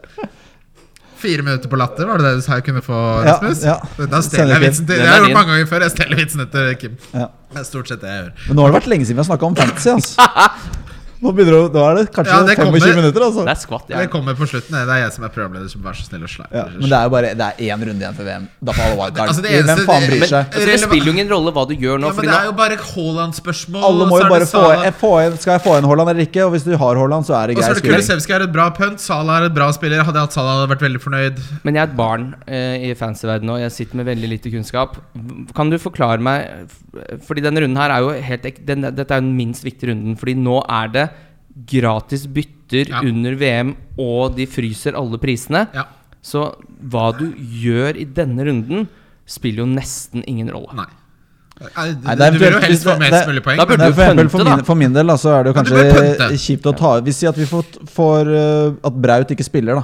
Fire minutter på latter, var det det du sa jeg kunne få,
Ja,
Rasmus?
ja.
Da
Sender
stjeler jeg
Kim.
vitsen til
Den
Det har
er
jeg
din.
gjort mange ganger før. Jeg stjeler vitsene til Kim.
Ja.
Det er stort sett det jeg gjør.
Men nå har det vært lenge siden vi har snakka om fantasy. Altså. Nå, begynner det, å- nå er det kanskje
Ja, det
25
kommer.
minutter. Altså.
Det er skvatt.
Det
Jeg.
kommer på slutten. Det er jeg som er programleder, som vær så snill å slå.
Ja, men det er jo bare det er én runde igjen før VM. Da får alle wildcard.
Altså, det eneste-
Hvem faen
det-
bryr
Men
seg?
altså, det spiller jo ingen rolle hva du gjør nå.
Ja, men
Fordi
det
nå
er jo bare Haaland-spørsmål.
Alle
og
må
så
jo
er
bare
det
få,
Salah.
jeg, få en, Skal jeg få en Haaland eller ikke? Og hvis du har Haaland, så er
Og
det
så
grei
er det
skuring.
Kulisevskij er et bra punt. Salah er et bra spiller. Hadde jeg hatt Salah, hadde jeg vært veldig fornøyd.
men jeg er et barn eh, i fancyverdenen og jeg sitter med veldig lite kunnskap. Kan du forklare meg Fordi denne runden her er jo helt ek- den, Dette er jo den minst viktige runden, fordi nå er det gratis bytter
Ja.
under VM, og de fryser alle prisene.
Ja,
Så hva du gjør i denne runden, spiller jo nesten ingen rolle.
nei Nei, Du,
Nei, det er
du vil jo
eventuelt-
helst få
det-
mest
det-
mulig poeng.
da burde
men-
Nei,
du
for, eksempel,
pønte,
for,
da.
min, for min del da, så er det jo
Ja, du
kanskje
bør pønte.
kjipt å ta Vi sier at vi får, får eh, at Braut ikke spiller, da.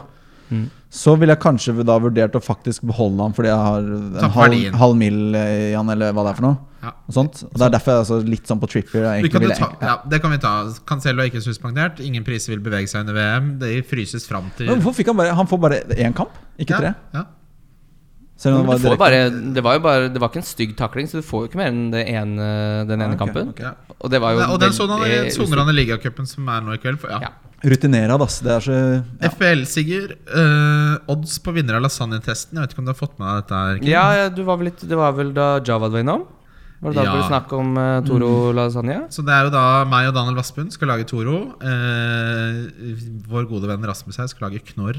Mm.
Så ville jeg kanskje da vurdert å faktisk beholde ham fordi jeg har
Tapp
en
verdien.
halv, halv mil eh, i han, eller hva det er for noe.
Ja.
Og sånt. Og Det er derfor jeg er altså litt sånn på trippier.
Vi
Jeg egentlig
kan jo
ville
ta,
egentlig-
ja, det kan vi ta. Cancelo er ikke suspendert. Ingen priser vil bevege seg under VM. De fryses fram til
Men hvorfor fikk han bare Han får bare én kamp, ikke tre?
ja, ja.
Selv om
Du
det var
får
direkte.
bare, det var jo bare Det var ikke en stygg takling, så du får jo ikke mer enn det ene, den ene
Ah, ok,
kampen.
ok.
Ja.
Og det var jo eh,
Og den soner han-
eh,
veldig
soner han i ligacupen som er nå i kveld. For, ja.
Ja.
Rutinere, ass. Det er så ja.
FPL-Sigurd, eh, odds på vinner av lasagnetesten. Jeg vet ikke om du har fått med deg dette? her Kim?
Ja, ja, du var vel litt, det var vel da Javad var innom? Var det da
Ja.
det ble snakk om eh, Toro
Mm.
Lasagne?
Så det er jo da meg og Daniel Vassbund skal lage Toro. Eh, vår gode venn Rasmus her skal lage knorr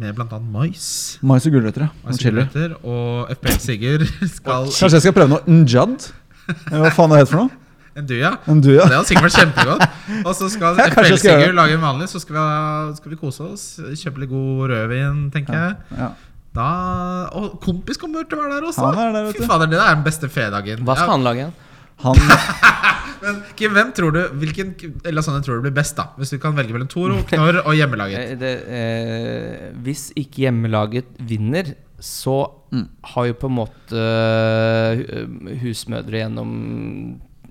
med bl.a. mais.
Mais og gulrøtter, ja.
Og,
Og chili.
gulrøtter, og FPL Sigurd skal
Kanskje jeg skal prøve noe njad? Eller Hva faen det heter for noe?
En duja.
En
Det
duja?
hadde sikkert vært kjempegodt. Og så skal
Ja,
FPL
kanskje jeg skal gjøre
Sigurd
det.
lage en vanlig, så skal vi, ha- skal vi kose oss. Kjøpe litt god rødvin, tenker jeg.
Ja.
Da, og kompis kommer til å være der også!
Han er der, vet
Fy
du.
fader, Det er den beste fredagen.
Hva skal
Ja,
han lage igjen?
Han
men Kim, hvem tror du, Hvilken lasagne tror du blir best, da? Hvis du kan velge mellom Toro, knorr og
Eh,
hjemmelaget.
Det, eh, hvis ikke hjemmelaget vinner, så
Mm.
har jo på en måte eh, husmødre gjennom,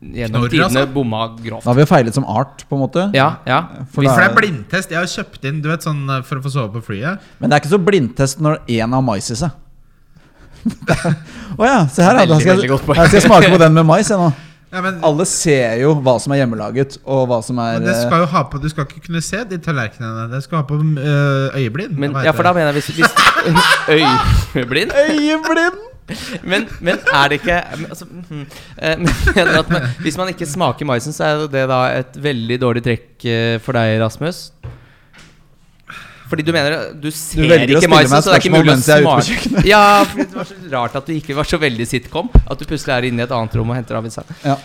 gjennom
Knorr,
tidene
altså?
bomma grovt.
Da har vi jo feilet som art, på en måte.
Ja, ja.
For
For det
da
er
er det.
blindtest. Jeg har kjøpt inn du vet, sånn, eh, for å få sove på flyet.
Men det er ikke så blindtest når én har mais i seg. Å ja, se her, ja. Da
Veldig,
skal,
veldig
jeg,
godt poeng.
jeg skal smake på den med mais, jeg nå.
Ja, men,
Alle ser jo hva som er hjemmelaget, og hva som er
men det
eh,
skal jo ha på, Du skal ikke kunne se de tallerkenene. Det skal ha på øh, øyeblind.
Men,
Hva heter
ja, for da
det?
mener jeg hvis, hvis Øyeblind?
eh, Øyeblind!
Men, men er det ikke men, altså, mhm, eh, men, jeg mener at man, Hvis man ikke smaker maisen, så er jo det da et veldig dårlig trekk eh, for deg, Rasmus. Fordi du mener du
Du
ser
velger å
ikke
stille
maisen,
meg
så det er ikke
spørsmål
mulig å
mens jeg er ute på
smake.
kjøkkenet.
Ja, fordi det var så rart at du ikke var så veldig sitcom. At du plutselig er inne i et annet rom og henter av en sang.
Ja.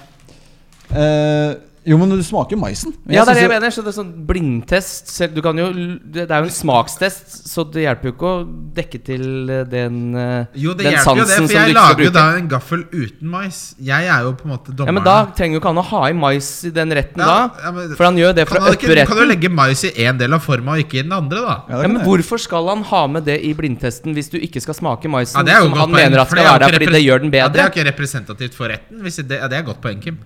Eh, jo, men du smaker maisen. Men
Ja, det er det
synes
jeg
jo-
mener. Så det er sånn blindtest selv, du kan jo, Det det er jo en smakstest, så det hjelper jo ikke å dekke til eh, den, eh,
Jo, det
den
hjelper jo det, for
som du ikke
jeg
skal
lager jo
bruke.
da en gaffel uten mais. Jeg er jo på en måte
Ja,
dommeren.
Men da trenger jo ikke han å ha i mais i den retten, da.
ja, men,
For han gjør det for
kan,
å
han
øppe
ikke, kan du
retten.
legge mais i én del av forma og ikke i den andre, da?
Ja, det
Ja,
kan
men
jeg.
Hvorfor skal han ha med det i blindtesten hvis du ikke skal smake maisen?
Ja, det er
som
jo et
han
godt poeng,
mener at
for det
skal
er jo
være der
ikke
fordi
repre-
det gjør den
Ja, det er
bedre?
jo ikke representativt for retten. Hvis det, ja, det er godt poeng, Kim.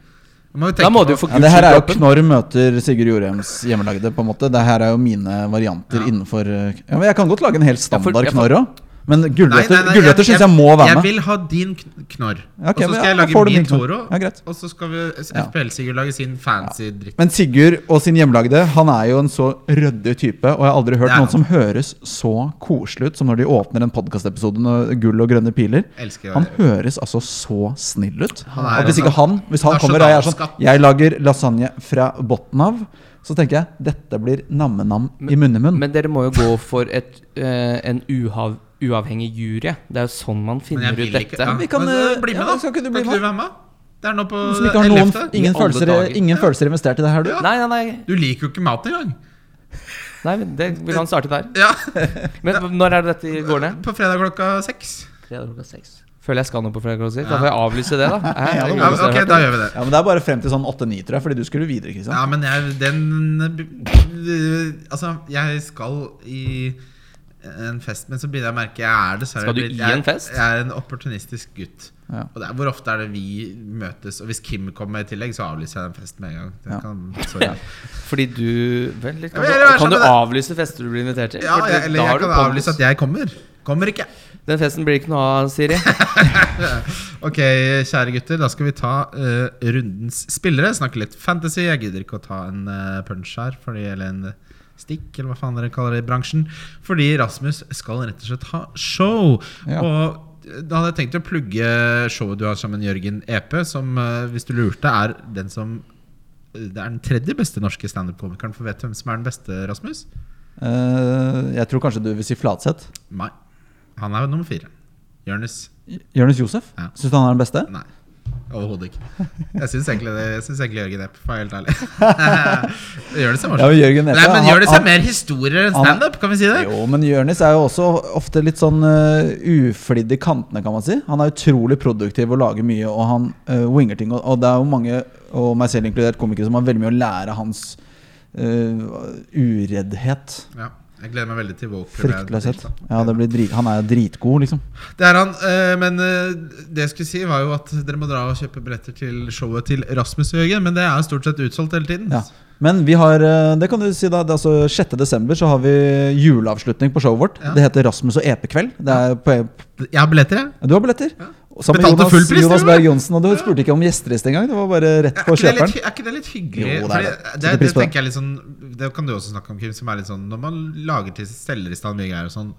Man må jo
Da
tenke
må du jo
på-
for
ja,
guds
det her
skyld
er jo
droppe den.
Knorr møter Sigurd Jorheims hjemmelagde. på en måte Det her er jo mine varianter innenfor eh, ja, men Jeg kan godt lage en helt
for-
standard
ja, for-
Knorr òg. Men
Nei, nei,
gulrøtter
nei,
gulrøtter syns jeg må være
Jeg
med.
vil ha din kn- knorr.
Ja, ok,
og så
men
skal
ja,
jeg
da får
lage
du
min
min knorr.
Toro.
Ja, greit.
og så skal vi
Ja.
FPL-Sigurd lage sin fancy dritt.
Men Sigurd og sin hjemmelagde Han er jo en så ryddig type, og jeg har aldri hørt
Det er
noen
han.
som høres så koselig ut som når de åpner en podkastepisode med gull og grønne piler.
Elsker å
Han
gjøre det.
høres altså så snill ut.
Han er
At hvis
en
ikke han Hvis han kommer og jeg er sånn
nasjonalskatt.
Jeg lager lasagne fra bunnen av, så tenker jeg dette blir namme-nam i munnemunn.
Men dere må jo gå for et, eh, en uhav, uavhengig jury. Det er jo sånn man
Men jeg
finner ut
vil ikke
dette.
ja.
Vi kan,
Men,
eh,
eh, Bli
ja,
med, da.
skal ikke du bli
Kan ikke du være med? Det er nå på
Som ikke har noen,
11.
ingen,
I alle
følelser,
dager.
ingen følelser investert i det her, du.
Ja.
Nei, nei, nei.
Du liker jo ikke mat engang.
nei men det, vi kan starte der.
Ja.
Men når er det dette går ned?
På fredag klokka seks.
Føler jeg skal noe på fredag. også. Da får jeg avlyse det, da. Jeg,
Ja, det må
Ja,
du
ok, da gjør vi det.
Ja, men Det er bare frem til sånn 8-9, tror jeg, fordi du skulle videre. Kristian
Ja, men jeg Den eh, Altså, jeg skal i en fest, men så begynner jeg å merke Jeg er dessverre
Skal du
blitt-
i
jeg,
en fest?
Jeg er en opportunistisk gutt.
Ja.
Og det er, hvor ofte er det vi møtes? Og hvis Kim kommer i tillegg, så avlyser jeg den festen med en gang. Det
Ja.
Kan, sorry.
Fordi du Vent litt. Kan,
Ja, men jeg
du,
vil være
kan du
sammen med deg.
avlyse fester du blir invitert til?
ja,
For
jeg,
da
eller
har
jeg
du
kan
bonus.
avlyse at jeg kommer. Kommer ikke.
Den festen blir ikke noe av, Siri.
Ok, kjære gutter, da skal vi ta eh, rundens spillere. Snakke litt fantasy. Jeg gidder ikke å ta en eh, punch her, fordi, eller en eh, stikk, eller hva faen dere kaller det i bransjen. Fordi Rasmus skal rett og slett ha show.
Ja.
Og eh, da hadde jeg tenkt å plugge showet du har sammen med Jørgen Epe, som eh, hvis du lurte, er den som eh, det er den tredje beste norske standup-komikeren. For vet du hvem som er den beste, Rasmus?
Eh, Jeg tror kanskje du vil si Flatseth.
Nei. Han er jo nummer fire. Jonis.
Jonis Josef?
Ja.
Syns du han er den beste?
Nei. Overhodet ikke. Jeg syns egentlig, det- jeg syns egentlig Jørgen Epp, for å være helt ærlig. Jonis er
Ja, men
morsom.
Jørgen Epe,
Nei, men
han-
Jonis er
han-
mer historier enn
han-
standup, kan vi si det?
Jo, men Jonis er jo også ofte litt sånn eh, uflidd i kantene, kan man si. Han er utrolig produktiv og lager mye, og han eh, winger ting. Og, og det er jo mange, og meg selv inkludert, komikere som har veldig mye å lære av hans eh, ureddhet.
Ja. Jeg gleder meg veldig til Walker.
Fryktløshet. Ja, det blir drit, han er jo dritgod, liksom.
Det er han. eh, Men eh, det jeg skulle si, var jo at dere må dra og kjøpe billetter til showet til Rasmus og Jørgen. Men det er jo stort sett utsolgt hele tiden.
Ja. Men vi har eh, det kan du si da, det er altså 6. desember så har vi juleavslutning på showet vårt.
Ja.
Det heter Rasmus og EP-kveld. Det er på
Jeg har billetter, jeg.
Du har billetter. Sammen med
Betalte
Jonas,
full pris, til
Jonas
og med.
Berg Johnsen. Og du spurte ikke om gjesteliste engang. Det var bare rett
Er
på
ikke, det litt,
kjøperen.
hy- er ikke det litt hyggelig?
Jo, det er
Fordi
det.
det, det,
Setter pris på det.
tenker jeg litt sånn Det kan du også snakke om, Kim. Som er litt sånn Når man lager til steller i stand mye greier og sånn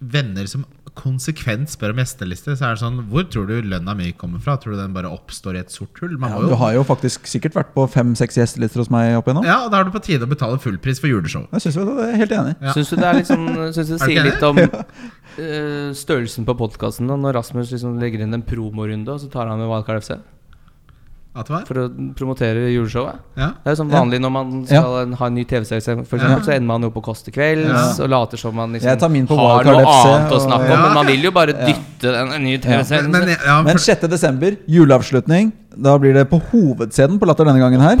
Venner som konsekvent spør om gjesteliste, så er det sånn Hvor tror du lønna mi kommer fra? Tror du den bare oppstår i et sort hull? Man
Ja,
må
du
jo
har jo faktisk sikkert vært på fem-seks gjestelister hos meg opp igjennom.
Ja, og da er du på tide å betale fullpris for juleshow.
Jeg synes jo det er helt enig. i.
Ja.
Syns du det er litt sånn- Syns du det
Er du
sier
ikke
litt om eh, størrelsen på podkasten når Rasmus liksom legger inn en promorunde, og så tar han med Wildcard FC
At det var?
for å promotere juleshowet?
Ja.
Det er jo sånn vanlig når man skal ha en ny TV-serie, for eksempel, så ender man jo på Kåss til kvelds
Ja.
og later som man
Jeg tar
liksom
min på
har
Wildcard
noe
FC,
annet å
og-
snakke om,
Ja.
men man vil jo bare dytte den en ny
Men,
TV-serien.
men, ja,
Men
for,
6. desember, juleavslutning. Da blir det på hovedscenen på Latter denne gangen her.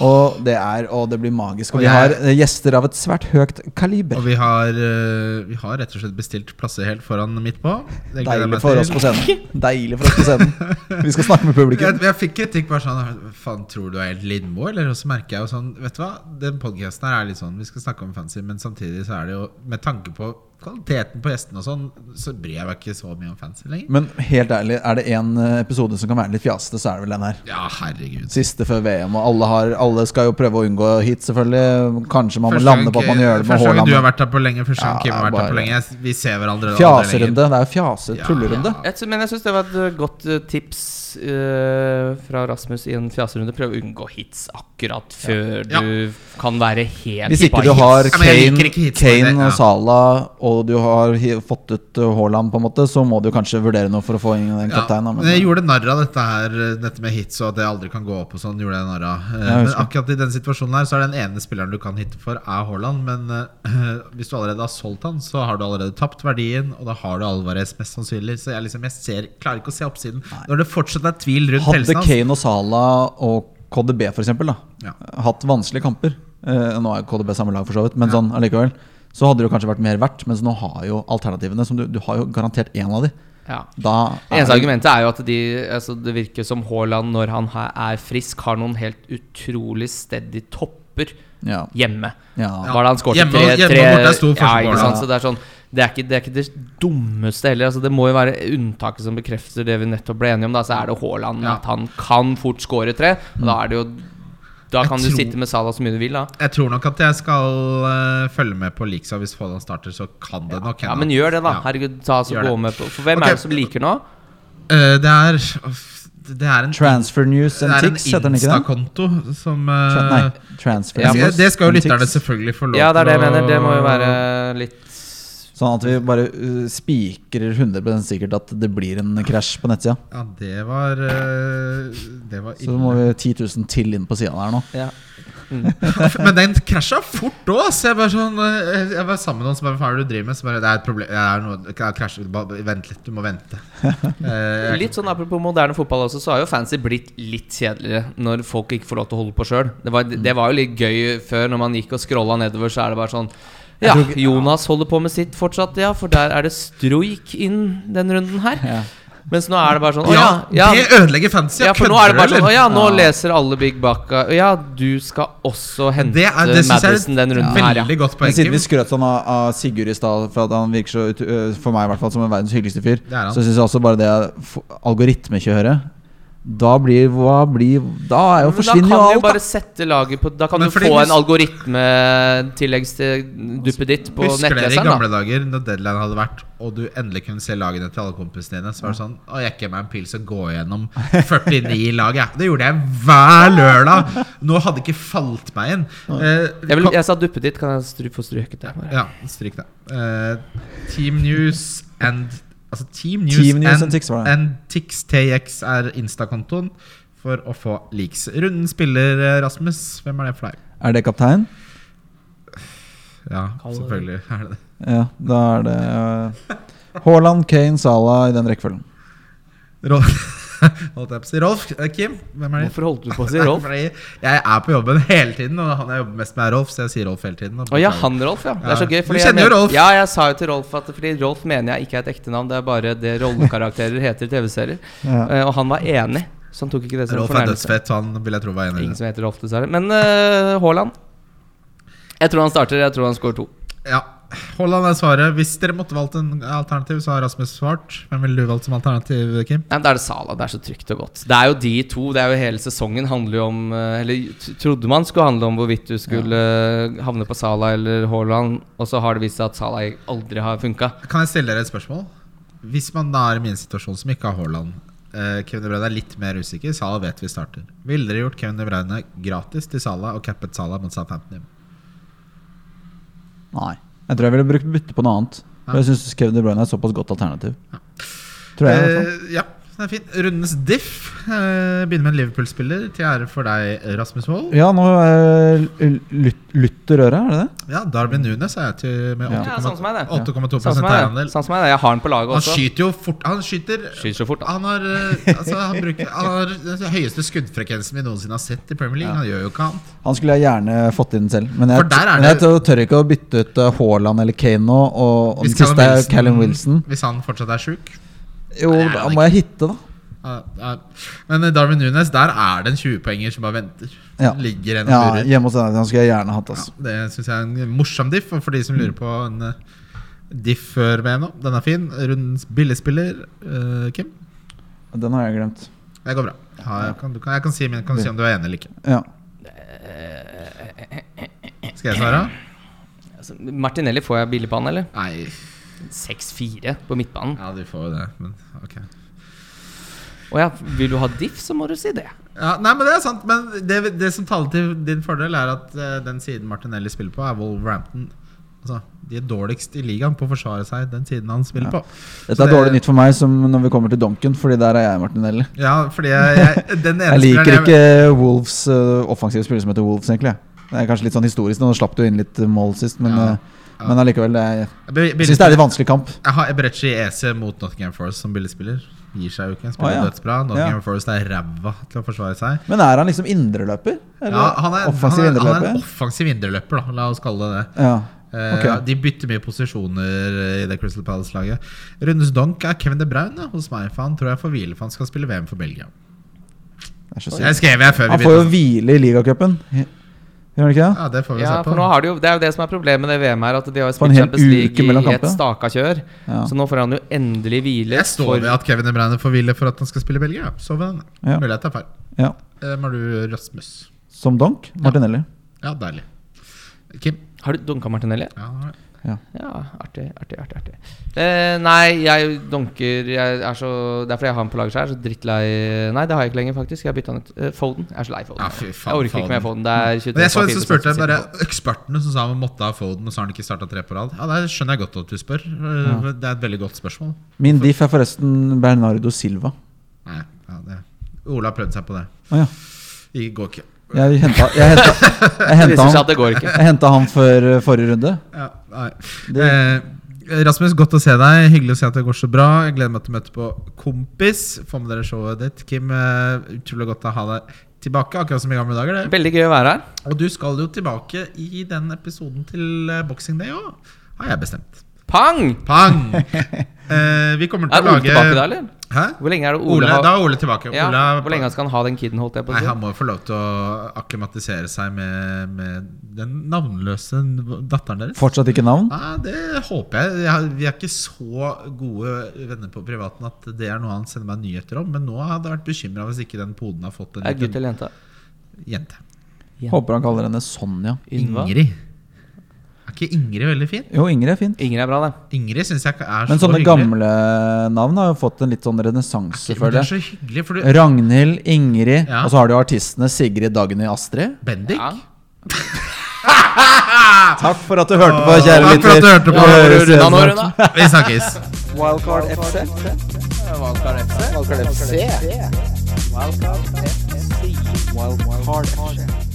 Og det er, og det blir magisk.
Og
Og vi har
jeg-
eh, gjester av et svært høyt kaliber.
og vi har, eh, vi har rett og slett bestilt plasser helt foran midt på. Det gleder jeg
Deilig
meg
for
til.
oss på scenen. Deilig for oss på scenen Vi skal snakke med
Jeg,
publikum.
jeg fikk kritikk bare sånn Faen, tror du er helt Lindmo, eller? Og så merker jeg jo sånn Vet du hva, den podcasten her er litt sånn Vi skal snakke om fancy, men samtidig så er det jo Med tanke på kvaliteten på gjestene og sånn, så bryr jeg meg ikke så mye om fancy lenger.
Men helt ærlig, er det én episode som kan være litt fjasete, så er det vel den her.
Ja, herregud.
Siste før VM, og alle, har, alle skal jo prøve å unngå hit, selvfølgelig. Kanskje man må
Første
lande
gang-
på at man gjør det med
Første gang du har
Haaland.
vært her på lenge, første gang
Ja,
Kim har vært her på
bare-
lenge. Vi ser hverandre aldri lenger.
Fjaserunde. Det er jo fjase,
Ja,
tullerunde.
Jeg sy- men jeg syns det var et eh, godt eh, tips eh, fra Rasmus i en fjaserunde. Prøv å unngå hits akkurat før
Ja.
du kan være helt
Hvis ikke
på
du
hits.
har
Ja, men jeg liker
Kane,
ikke hits,
Kane
men det- ja.
og Salah, og du har hi- fått ut uh, Haaland, på en måte, så må du kanskje vurdere noe for å få inn den
Ja,
kapteinen. da,
men
men- uh,
jeg gjorde narr av dette her Dette med hits og at det aldri kan gå opp og sånn. gjorde jeg narr av Eh,
jeg
Men
husker.
akkurat i den situasjonen her Så er den ene spilleren du kan hitte for, er Haaland. Men eh, hvis du allerede har solgt han, så har du allerede tapt verdien. Og da har du Alvarez, mest sannsynlig. Så jeg, liksom, jeg ser, klarer ikke å se oppsiden. Når det fortsatt er tvil rundt
Hadde
helsen hans.
Kane og Salah og KDB for eksempel, da,
Ja.
hatt vanskelige kamper eh, Nå er KDB samme lag, for så vidt, men sånn allikevel. Så hadde det jo kanskje vært mer verdt, mens nå har jo alternativene som Du, du har jo garantert én av de.
Ja.
Da er
Eneste
det-
argumentet er jo at de, altså det virker som Haaland, når han her er frisk, har noen helt utrolig steady topper
ja,
hjemme.
ja.
Var det han skåret
Hjemme-
tre,
hjemme
tre
og borte er stor
ja,
forskjell på
ikke sant?
det.
Så det er sånn det er, ikke, det er ikke det dummeste heller. Altså, det må jo være unntaket som bekrefter det vi nettopp ble enige om. Da. Så er det Haaland
Ja.
at han kan fort skåre tre. Og da er det jo Da
Jeg
kan du
tror-
sitte med Salah så mye du vil, da.
Jeg tror nok at jeg skal eh, følge med på Liksa hvis Haaland starter, så kan det nok
Ja, Men gjør det, da.
Ja.
Herregud, ta oss og
Gjør
gå
det.
med på For hvem
Ok.
er det som liker nå?
Eh, det er uff, Det er en
Transfer News and Tix,
det er
heter
en
den ikke det?
Insta-konto som eh,
Tra nei, Transfer
Ja,
det,
News
det skal jo
and
lytterne
Tix.
selvfølgelig få lov
Ja, det er det jeg
til å-
mener. Det må jo være litt
Sånn at vi bare uh, spikrer 100 sikkert at det blir en krasj på nettsida.
Ja, det var eh, Det var
Så
ille.
må vi 10 000 til inn på sida der nå.
ja.
Men den krasja fort òg! Jeg, bare sånn, eh, jeg var sammen med noen som bare Hva er det du driver med? Så bare, det er et problem det er noe, det er krasj, bare, Vent litt, du må vente. Eh,
Litt sånn Apropos moderne fotball også, så har jo fancy blitt litt kjedeligere når folk ikke får lov til å holde på sjøl. Det, var- det var jo litt gøy før, når man gikk og scrolla nedover, så er det bare sånn ja,
tror ikke-
Jonas holder på med sitt fortsatt, ja, for der er det stroik inn den runden her.
Ja.
Mens nå er det bare sånn Å
ja,
ja, ja,
det ødelegger fancy!
ja, for nå er det bare sånn Å ja, nå
Ja.
leser alle Big Bacca Å ja, du skal også hente
Det, er, det syns jeg
Madison
er
den
et
runden her, ja.
veldig godt
Men
poeng.
siden
Kim.
vi skrøt sånn av, av Sigurd i stad, for at han virker så ut, ø, for meg i hvert fall som en verdens hyggeligste fyr,
Det er han.
så syns jeg også bare det f- algoritmekjøret Da blir hva blir Da er jo
Men da
forsvinner jo
kan du
alt,
bare
da.
sette laget på Da kan
Men
du
fordi
få en
hus-
algoritmetilleggs til duppeditt på
Husker dere i
nettleseren. da
gamle dager når deadline hadde vært, og du endelig kunne se lagene til alle kompisene dine? Så var det sånn Å, jeg gikk meg en pils og gå gjennom 49 lag, jeg. Det gjorde jeg hver lørdag! Nå hadde ikke falt meg inn. Eh,
Jeg, vil,
kom-
jeg sa duppet ditt, kan jeg stry, få strøket det? bare?
Ja, stryk det. Eh, team News and Altså Team News,
Team News and Tix var det.
and Tix TX er Insta-kontoen for å få leaks. Runden spiller eh, Rasmus. Hvem er det for deg?
Er det kaptein?
Ja,
Kalle-
selvfølgelig er det det.
Ja, da er det ø, Haaland, Kane, Salah i den rekkefølgen.
Rolf, holdt jeg på å si. Rolf, eh, Kim, hvem er det?
Hvorfor holdt du på å si Rolf?
Fordi jeg er på jobben hele tiden, og han jeg jobber mest med, er Rolf, så jeg sier Rolf hele tiden. og
Å ja,
beklager.
han Rolf, ja. Det er så
Ja.
gøy.
Du kjenner jo
jeg men-
Rolf.
Ja, jeg sa jo til Rolf at Fordi Rolf mener jeg ikke er et ekte navn, det er bare det rollekarakterer heter i TV-serier.
Ja.
Eh, og han var enig, så han tok ikke det som en
Rolf er
fornærmelse.
dødsfett, så han vil jeg tro var enig i
Ingen
det.
som heter Rolf, dessverre. Men eh, Haaland Jeg tror han starter, jeg tror han scorer to.
Ja. Haaland er svaret. Hvis dere måtte valgt en alternativ, så har Rasmus svart. Hvem ville du valgt som alternativ, Kim?
Nei, men Da er det Sala. Det er så trygt og godt. Det er jo de to. Det er jo hele sesongen handler jo om eh, Eller t- trodde man skulle handle om hvorvidt du skulle eh, havne på Sala eller Haaland, og så har det vist seg at Sala aldri har funka.
Kan jeg stille dere et spørsmål? Hvis man da er i min situasjon, som ikke har Haaland eh, Kevin De Bruyne er litt mer usikker. Salah vet vi starter. Ville dere gjort Kevin De Bruyne gratis til Salah og cappet Salah mot Southampton?
Nei. Jeg tror jeg ville brukt bytte på noe annet.
Ja.
For jeg syns Kevin De Bruyne er et såpass godt alternativ. Tror jeg, i hvert fall.
Eh, ja, det er fint. Rundens diff. Eh, begynner med en Liverpool-spiller til ære for deg, Rasmus Wold.
Ja, nå er Lut- Luther Øre, er det det?
Ja, Darwin Nunes er jeg til med
Ja.
Ja, sånn som er det.
8,2
Sånn som er det.
eierandel.
Sånn som er det. Jeg har den på laget
Han
også.
skyter jo fort. Han skyter
Skyter så fort, da.
Han har, eh, altså, han bruker, han har den høyeste skuddfrekvensen vi noensinne har sett i Premier League. Han gjør jo ikke annet.
Han skulle jeg gjerne fått inn selv, men jeg,
For der er
men jeg
det-
tør, tør ikke å bytte ut eh, Haaland eller Kane nå. Og, og den siste er Callum Wilson.
Hvis han fortsatt er sjuk.
Jo,
Nei,
da
han
må jeg hitte, da.
Ja, ja. Men eh, Darwin Nunes, der er det en 20-poenger som bare venter.
Ja.
Ligger en og
Ja,
lurer.
Hjemme hos United han skulle jeg gjerne hatt. Altså.
Ja, det syns jeg er en morsom diff, og for de som lurer på en, eh, Diff før VM nå. Den er fin. Rundens billigspiller, eh, Kim.
Den har jeg glemt.
Det går bra. Ja, jeg, kan, du kan, jeg kan si min. Kan du si om du er enig eller ikke?
Ja.
Skal jeg svare?
Altså, Martinelli får jeg billig på han, eller?
Nei.
6-4 på midtbanen.
Ja, du får jo det, men ok.
Og ja, vil du ha diff, så må du si det.
Ja, nei, men Det er sant, men det, det som taler til din fordel, er at eh, den siden Martinelli spiller på, er Wolverhampton. Altså, De er dårligst i ligaen på å forsvare seg den siden han spiller
Ja.
på.
Dette er dårlig nytt for meg som når vi kommer til Duncan, Fordi der er jeg Martinelli.
Ja, fordi jeg, jeg, den ene
Jeg liker
spilleren jeg-
ikke Wolves øh, offensive spillere som heter Wolves, egentlig. Det er kanskje litt sånn historisk, nå slapp du inn litt mål sist, men,
Ja.
øh,
Ja.
men allikevel det er,
Jeg be-
Jeg syns det er litt vanskelig kamp.
Jeg har Ebrechi EC mot Nottingham Forest som billigspiller. Gir seg jo ikke. Spiller
Å, ja.
dødsbra. Nottingham Forest er ræva til å forsvare seg.
Men er han liksom indreløper? Eller
Ja, han er,
offensiv
han er, han er en
indreløper?
offensiv indreløper, da. La oss kalle det det.
Ja.
Eh,
Ok.
De bytter mye posisjoner eh, i det Crystal Palace-laget. Rundens donk er Kevin De Bruyne hos meg, for han tror jeg får hvile for han skal spille VM for Belgia.
Det er så sykt.
Jeg skrev jeg før vi
Han får jo
begynte.
hvile i ligacupen. Gjør han ikke det?
Ja, det får vi
Ja,
se
for nå
på.
har de jo, Det er jo det som er problemet med det VM her, at de har jo
På en
spilt
hel
Champions
uke
League
mellom
i et
kampene.
staka kjør.
Ja.
Så nå får han jo endelig hvile.
Jeg står ved at Kevin De Bruyne får hvile for at han skal spille Belgia. Så ved den.
Ja.
Mulig jeg tar feil.
Ja.
Eh, Må du Rasmus?
Som donk? Martinelli.
Ja, deilig. Kim?
Har du dunka Martinelli?
Ja, nå er det.
Ja, artig, artig, artig. artig. Eh, nei, jeg dunker jeg er så, Det er fordi jeg har han på laget sjøl. Jeg er så drittlei Nei, det har jeg ikke lenger, faktisk. Jeg har bytta han ut. Eh, Foden. Jeg er så lei Foden.
Ja, fy faen,
jeg orker
Foden.
ikke mer Foden. Det er 23
Men jeg så en
som
som spurte
sitter
bare
på.
ekspertene som sa man måtte ha Foden, og så har han ikke starta tre på rad. Ja, Det skjønner jeg godt at du spør. Eh, Det er et veldig godt spørsmål.
Min diff er forresten Bernardo Silva.
Nei, ja, det. Ola har prøvd seg på det.
Å ja.
Det går ikke.
Jeg henta, jeg henta, jeg
Det
henta
viser seg
han,
at det går ikke.
jeg henta han før øh, forrige runde.
Ja, nei. Eh, Rasmus, godt å se deg. Hyggelig å se at det går så bra. Jeg gleder meg til å møte på Kompis. Få med dere showet ditt. Kim, eh, utrolig godt å ha deg tilbake, akkurat som i gamle dager. Det.
Veldig gøy å være her.
Og du skal jo tilbake i den episoden til eh, Boxing Day òg, har jeg bestemt.
Pang!
Pang! Eh, vi kommer til
Er
å
Ole
lage
tilbake da, eller?
Hæ?
Hvor lenge er det Ole,
Ole,
har
da er Ole tilbake.
ja,
Ole, er-
Hvor lenge skal han ha den kiden, holdt jeg på å
Nei,
si?
Han må jo få lov til å akklimatisere seg med, med den navnløse datteren deres.
Fortsatt ikke navn.
Nei, det håper jeg. jeg. har- Vi er ikke så gode venner på privaten at det er noe han sender meg nyheter om. Men nå hadde jeg vært bekymra hvis ikke den poden har fått en
Er det gutt
liten
eller jente?
jente.
Håper han kaller henne Sonja.
Ynva?
Ingrid. Er ikke Ingrid veldig fin?
Jo, Ingrid er fint.
Ingrid er bra, det.
Ingrid syns jeg ikke er
Men
så
sånne
hyggelig.
gamle navn har jo fått en litt sånn renessanse,
Men det
føler
er
jeg.
så hyggelig, for du
Ragnhild, Ingrid,
Ja.
og så har du artistene Sigrid, Dagny, Astrid.
Bendik?
Ja.
Takk for at du hørte på, kjære
Takk for at du
lytter.
hørte på.
Vi høres
Runa,
igjen
nå,
snart.
Runa.
Vi snakkes.
Wildcard FC. Wildcard FC. Wildcard FC. Wildcard FC. Wildcard FC.